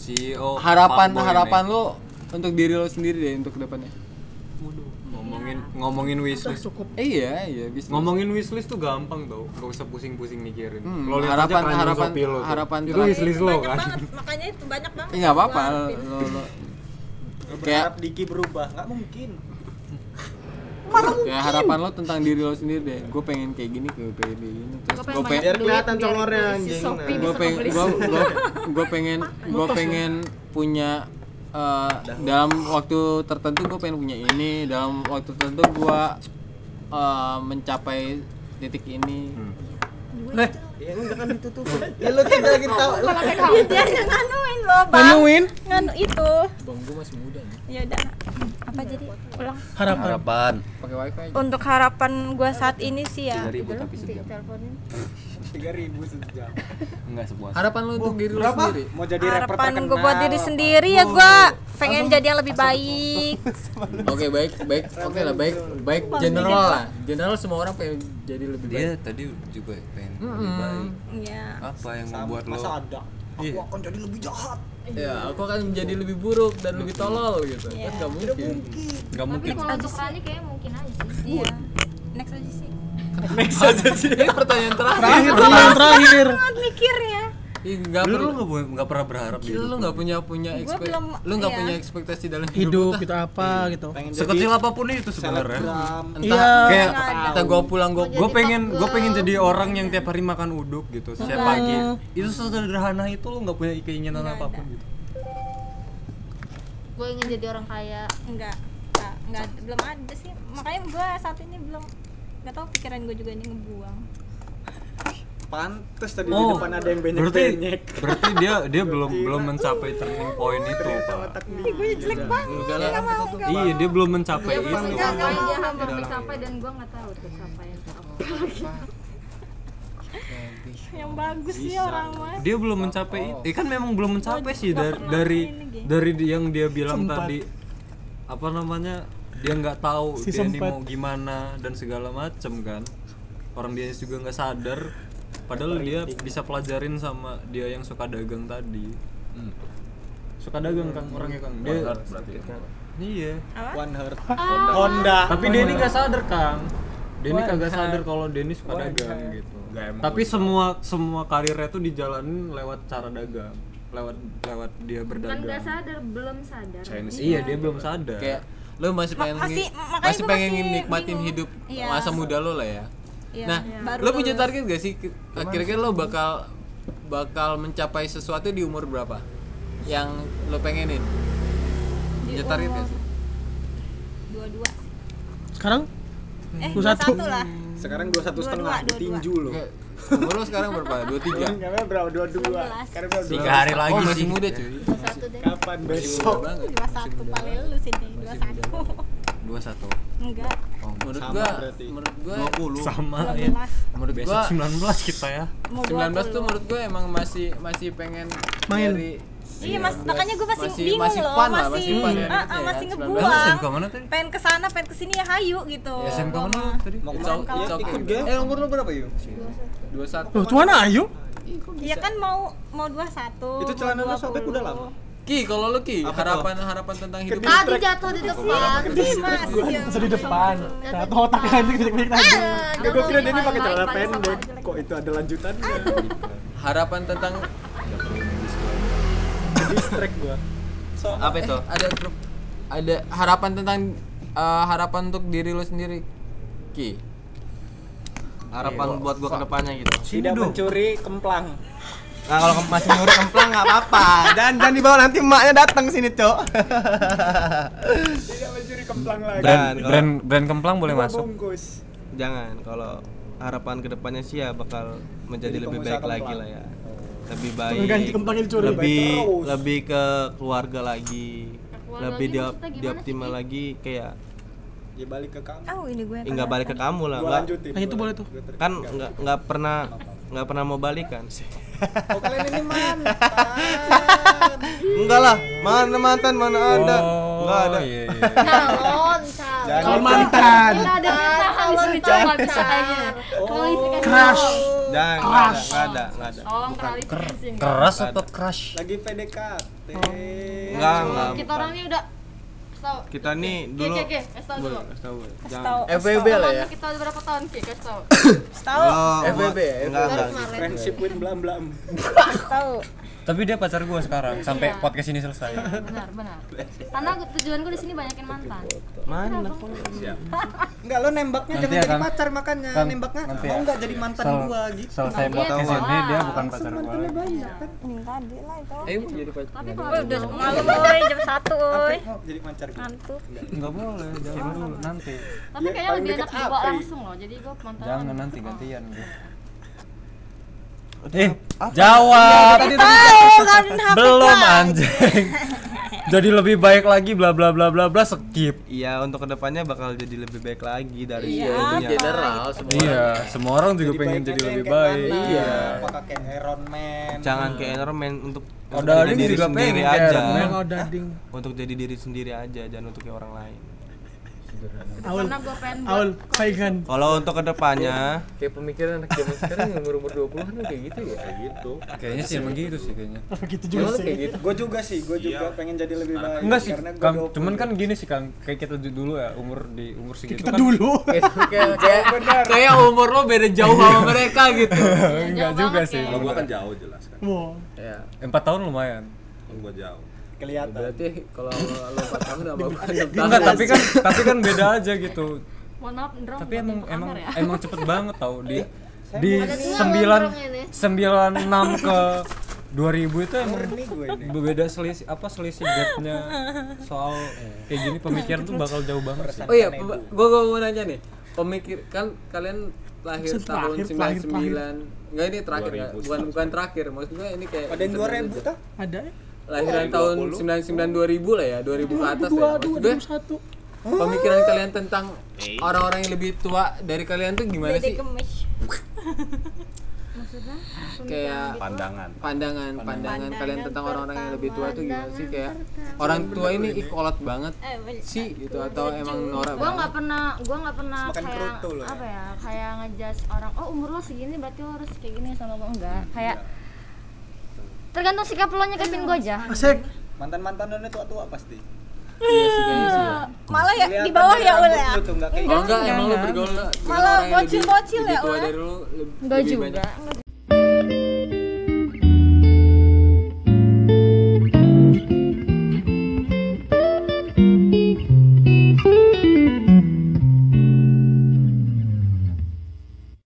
B: CEO
F: harapan
B: fuckboy
F: harapan
B: ini.
F: lu untuk diri lo sendiri deh untuk kedepannya.
B: ngomongin ngomongin wishlist
G: cukup
F: Eh, iya iya bisnis.
B: ngomongin wishlist tuh gampang tau gak usah pusing-pusing mikirin
F: Hmm,
B: lo lihat aja
F: harapan-
B: keranjang
F: harapan-
B: Shopee lo tuh.
F: harapan
B: itu
F: terakhir.
B: wishlist lo
F: Banyak
B: kan
H: makanya itu banyak banget
F: Eh, nggak apa-apa.
H: Gua
F: Lo, lo-
D: Berharap Diki berubah, nggak mungkin
F: ya harapan lo tentang diri lo sendiri deh. Gue pengen kayak gini, gue pengen kayak gini. Terus
D: Gua
F: gue
D: pengen banyak
F: pengen
D: duit, Biar kelihatan biar congornya, beli si anjing. Shopee,
F: Gue
D: bisa
F: pengen
D: kebeli
F: gue
D: semua.
F: gue pengen gue
D: Motos,
F: pengen punya eh, dalam waktu tertentu gue pengen punya ini dalam waktu tertentu gue mencapai titik ini
D: Leh Ya enggak kan itu tuh Ya lu tidak lagi tahu
H: dia yang nganuin lo bang
F: Nganuin?
H: nganu itu
F: bang gue masih muda nih
H: ya udah apa jadi ulang
G: Harapan.
F: harapan pakai wifi aja.
H: untuk harapan gua saat ini sih ya
F: 3.000 tapi sejam.
D: Tiga ribu sejam
F: enggak sepuas harapan lu untuk diri lu
D: berapa?
F: sendiri
D: Mau jadi rapper
H: harapan
D: terkenal.
H: gue buat diri sendiri ya gua pengen jadi yang lebih baik
F: Oke baik baik oke lah baik baik general lah general semua orang pengen jadi lebih baik.
B: dia tadi juga pengen lebih
F: Mm-mm.
B: baik
H: Iya.
B: apa yang membuat lo
D: Masa ada? Aku akan jadi lebih jahat
F: Ya aku akan menjadi lebih buruk dan lebih tolol gitu kan nggak mungkin nggak
C: tapi kalau untuk Rani kayaknya mungkin aja sih
H: iya next aja sih
F: next aja sih ini pertanyaan terakhir
G: Terakhir, pertanyaan terakhir.
H: banget mikirnya
F: Ih, nggak
B: lu
F: perlu
B: nggak boleh- nggak pernah berharap gitu?
F: Gila, lu nggak punya punya
H: Gua
F: ekspe-
H: belum,
F: lu nggak
H: iya.
F: punya ekspektasi dalam
G: hidup
F: hidup, lu,
G: gitu
F: tah.
G: apa gitu
B: sekecil apapun itu sebenarnya
F: entah
G: Iya.
F: kayak
G: Nggak ada.
F: entah gua pulang gua
B: gue pengen gue pengen jadi orang yang tiap hari makan uduk gitu setiap
F: Nggak
B: pagi
F: ada.
B: itu sederhana itu lo nggak punya keinginan apapun gitu
E: Gue ingin jadi orang kaya.
H: enggak enggak, enggak belum ada sih makanya gua saat ini belum nggak tahu pikiran gue juga ini ngebuang
Q: Pantes tadi di depan ada yang benyek-benyek.
B: Oh, berarti berarti dia dia belum belum mencapai turning point itu pak
H: gue jelek banget
B: Enggak
H: nggak
B: lah.
H: mau nggak
B: iya dia belum mencapai
C: Dia
B: itu
C: mencapai, dia
B: Pak.
C: hampir mencapai dan gue nggak tahu tuh capaian itu apa
H: mau. yang bagus sih orang mah
B: dia belum mencapai itu eh, kan memang belum mencapai sih dari dari dari di- yang dia bilang
H: Sempat.
B: tadi apa namanya dia nggak tahu
R: Si
B: dia ini
R: sempat.
B: mau gimana dan segala macem kan orang dia juga nggak sadar padahal dia bisa pelajarin sama dia yang suka dagang tadi suka dagang kang orangnya kang
R: Hmm.
B: dia
R: One heart berarti. ya.
B: iya
Q: Apa? One heart.
B: Honda.
Q: Honda.
B: tapi dia ini nggak sadar kang dia ini
Q: One
B: kagak
Q: heart.
B: sadar kalau dia ini suka
Q: One
B: dagang
Q: heart.
B: gitu
R: Nggak, emang
B: tapi
R: gua-
B: semua semua karirnya tuh dijalanin lewat cara dagang lewat lewat dia
C: kan nggak
B: berdagang
C: sadar belum sadar
B: iya dia belum sadar
F: kayak lo masih pengen
C: masih-
F: ngi-
C: makanya
F: masih
C: gua
F: pengen
C: masih
F: nikmatin hidup
C: Iya.
F: masa muda lo lah ya
C: Iya,
F: nah
C: iya.
F: lo
C: Baru
F: punya
C: lulus.
F: target gak sih Ki- kira-kira lo bakal bakal mencapai sesuatu di umur berapa yang lo pengenin
H: Di
F: punya target gak
H: umur
F: ya sih
H: dua-dua
G: Sekarang?
F: Hmm.
H: eh
G: Dua
H: dua
G: satu.
H: satu lah
Q: Sekarang dua satu setengah
H: Dua-dua, dua-dua.
Q: ditinju loh.
F: umur lo sekarang berapa dua tiga
Q: Karena berapa dua dua. Karena berapa
F: Tiga
Q: dua-
F: hari lagi
Q: Oh,
F: masih muda cuy
H: satu deh
Q: Kapan besok?
H: dua satu paling lu sih dua satu
F: dua satu
H: enggak
F: menurut
Q: Sama
F: gua
Q: berarti.
F: menurut gua
B: 20. Sama,
H: ya.
F: menurut
B: Besok
F: gua
B: 19 kita ya.
H: Mau
F: 19 iya. tuh
H: 20.
F: menurut gua emang masih masih pengen
G: Main.
F: nyari
H: Iya mas, makanya gue masih,
F: Masih-
H: bingung
F: masih
H: loh,
F: fun lah,
H: masih,
F: masih fun ya,
H: ah, ah,
F: ya.
H: masih
F: 19.
H: ngebuang.
F: Lu SMK mana tadi?
H: Pengen kesana, pengen kesini ya hayu gitu.
F: SMK
H: Gua
F: mana
H: mah.
F: lu tadi? It's all-
H: Kalau-
D: ya,
F: it's okay.
H: ikut
F: Eh umur lu berapa yuk? 21
G: Loh, tuan ayu?
H: Iya kan mau mau dua satu.
Q: Itu celana lu sobek udah lama.
F: Ki, kalau lu Ki, harapan harapan tentang hidup lu.
E: Tadi jatuh di depan.
G: Masa di depan. Jatuh otaknya gitu. anjing kejek-kejek tadi.
Q: Gue kira dia ini pakai celana pendek. Kok itu ada lanjutannya?
F: Harapan tentang
Q: Distrek gua. So,
F: apa itu? eh, ada grup ada harapan tentang eh, harapan untuk diri lu sendiri. Ki.
D: harapan
F: Iya.
D: buat gua kedepannya gitu
Q: tidak mencuri kemplang.
D: nah kalau ke- masih nyuri kemplang nggak apa-apa dan dan dibawa nanti emaknya datang sini cok
Q: Tidak mencuri kemplang lagi.
S: Brand
D: kalau-
S: brand brand kemplang boleh
Q: Dua
S: masuk.
Q: Bungkus.
D: jangan kalau harapan kedepannya sih ya bakal
Q: Jadi
D: menjadi lebih
Q: pengusaha
D: baik lagi
Q: kemplang.
D: lah ya lebih
Q: Pengganti
D: baik
Q: kemplang yang dicuri.
D: lebih
Q: Baik terus.
D: lebih ke keluarga lagi
Q: keluarga
D: lebih
Q: lagi
D: dia
Q: maksudnya gimana
D: dioptimal lagi kayak
Q: Dia balik ke kamu.
H: Oh ini gue.
D: eh, nggak balik ke kamu lah
Q: Gua
D: nggak-
Q: lanjutin.
G: Nah, itu boleh tuh.
D: kan nggak nggak pernah nggak pernah mau balikan
Q: Oh, kalian ini mantan.
D: enggak lah mana mantan mana ada
B: Oh,
D: enggak ada
B: iya,
E: Calon, calon.
D: Jangan.
G: Mantan.
E: Kita ada pintahan di situ nggak bisa kayaknya. Kualifikasi
G: Crush.
D: jangan nggak ada nggak ada nggak ada
Q: Oh,
E: Tolong kualifikasi.
B: Keras
D: Nggak ada.
B: atau crush?
Q: Lagi PDKT.
D: Enggak, enggak.
E: Kita orangnya udah tahu.
D: Kita nih
E: Ki,
D: dulu
E: Ki, Ki, kasih tau dulu.
D: Boleh, kasih tau, boleh. Jangan.
H: Tahu.
F: FWB lah ya.
E: Kita udah berapa tahun Ki? Kasih tau.
H: Tahu.
D: Oh,
F: FWB ya,
D: Enggak, enggak.
Q: Friendship with blam blam.
H: Tahu.
B: Tapi dia pacar gua sekarang sampai podcast ini selesai.
E: Benar, benar. Karena gua- tujuan gue di sini banyakin mantan.
D: Mana?
Q: Enggak lo nembaknya
B: Nanti
Q: jangan
B: ya,
Q: jadi
B: Kang.
Q: pacar makanya
B: Kang,
Q: nembaknya
B: nanti
Q: mau
B: ya.
Q: enggak jadi mantan
B: Sel-
Q: gua gitu.
B: Selesai
E: Iya,
B: podcast
E: tahu.
B: ini dia bukan pacar gua.
Q: Mantannya banyak kan.
H: Ini tadi lah itu.
F: Eh, mau jadi pacar.
E: Tapi
H: Woi,
E: kalau
H: udah malam woi jam satu woi.
Q: Mau jadi pacar gitu.
H: Ngantuk.
B: Enggak boleh, jangan dulu nanti.
E: tapi
Q: Ya,
E: kayaknya
Q: paling
E: lebih
Q: deket
E: enak dibawa
Q: apa ya?
E: langsung loh. Jadi gue mantan.
B: Jangan nanti gantian gua.
D: Eh,
B: Jawab.
H: Tahu kan HP
B: Belum
H: gua.
B: anjing. Jadi lebih baik lagi bla bla bla bla bla skip.
D: Iya, untuk kedepannya bakal jadi lebih baik lagi dari
F: Iya, itu
D: sebelumnya.
F: general semua.
B: Iya, semua orang juga pengen jadi
Q: aja yang
B: lebih
Q: kayak
B: baik.
Q: mana,
B: Iya.
Q: Apa kakek Iron Man.
D: Jangan ke environment untuk
B: Oh,
D: untuk
B: Dading
D: jadi diri
B: juga
D: sendiri
B: pengen,
D: aja. Iya,
B: Dading.
G: Oh, dading.
D: Untuk jadi diri sendiri aja, jangan untuk kayak orang lain.
G: Aul.
E: Karena gue pengen buat
G: Aul, Faigan.
D: Kalau untuk
Q: Iya.
D: kedepannya,
F: Kayak pemikiran anak zaman sekarang yang umur-umur 20-an tuh kayak gitu ya. Kayak gitu.
B: Kayaknya sih emang gitu sih kayaknya.
G: Begitu
F: Emang
G: juga
F: lu kayak
G: sih.
F: gitu.
Q: Gue juga sih, gue juga pengen jadi lebih baik.
B: Iya. Enggak sih,
Q: karena gua
B: Kang.
Q: 20.
B: Cuman kan gini sih, Kang. Kayak kita du- dulu ya, umur di umur segitu
G: Kita
B: kan.
G: dulu.
F: Kayak kayak- kayak umur lo beda jauh sama mereka gitu.
B: Enggak juga sih.
R: Kalau gua kan jauh jelas kan.
G: Wow.
F: Ya.
B: Empat tahun lumayan.
R: Kalau gua jauh.
Q: kelihatan.
F: Berarti kalau lo pacaran udah sama gua enam
B: Enggak,
F: tahun.
B: tapi kan tapi kan beda aja gitu.
E: Mohon maaf, Ndrong.
B: Tapi
E: bukan
B: emang
E: untuk
B: emang
E: Amar ya.
B: emang cepet banget tau di di
E: Ada dua
B: sembilan
E: orang ini.
B: sembilan enam ke 2000 itu emang
Q: Ini gue ini.
B: beda selisih apa selisih gapnya soal kayak gini pemikiran tuh bakal jauh banget sih.
F: Oh iya, gua gua mau nanya nih. pemikir kan kalian lahir
T: Maksud
F: tahun
T: terakhir, terakhir,
F: 99 enggak ini terakhir ya?
D: 2000.
F: bukan bukan terakhir maksudnya ini kayak
D: Ada yang
F: internet
D: 2000
F: aja.
D: tuh? Ada ya?
F: lahiran
D: Oh,
F: tahun
D: 20.
F: 99 2000 lah ya 2000 ke atas ya maksudnya pemikiran kalian tentang orang-orang yang lebih tua dari kalian tuh gimana sih
H: Dede gemes. Maksudnya?
F: kayak
B: Pandangan.
F: pandangan pandangan kalian
H: Pandangan
F: tentang orang-orang yang lebih tua tuh gimana sih kayak
C: pertama.
F: orang
C: Bener
F: tua ini ikolot banget
C: Eh, bener.
F: sih gitu atau emang norak
C: gue
F: banget
C: nggak pernah gue nggak pernah
F: Makan
C: kayak
F: kerutu lo ya.
C: apa ya kayak ngejudge orang oh umur lo segini berarti lo harus kayak gini sama gue enggak kayak
F: Iya.
C: tergantung sikap lo nyekapin gue aja
D: mantan mantanannya tua tua pasti
H: Malah ya di
D: Kelihatan
H: bawah
D: dari
H: ya
D: rambut
H: udah ya.
D: lu tuh, nggak kayak
F: oh enggak
D: gitu.
F: emang lu
D: Enggak.
F: bergaul dengan
H: Malah
F: orang yang lebih-
H: bocil-bocil ya,
F: lebih tua
H: Ula.
F: dari lu lebih
C: enggak
F: lebih
C: juga
F: banyak.
C: enggak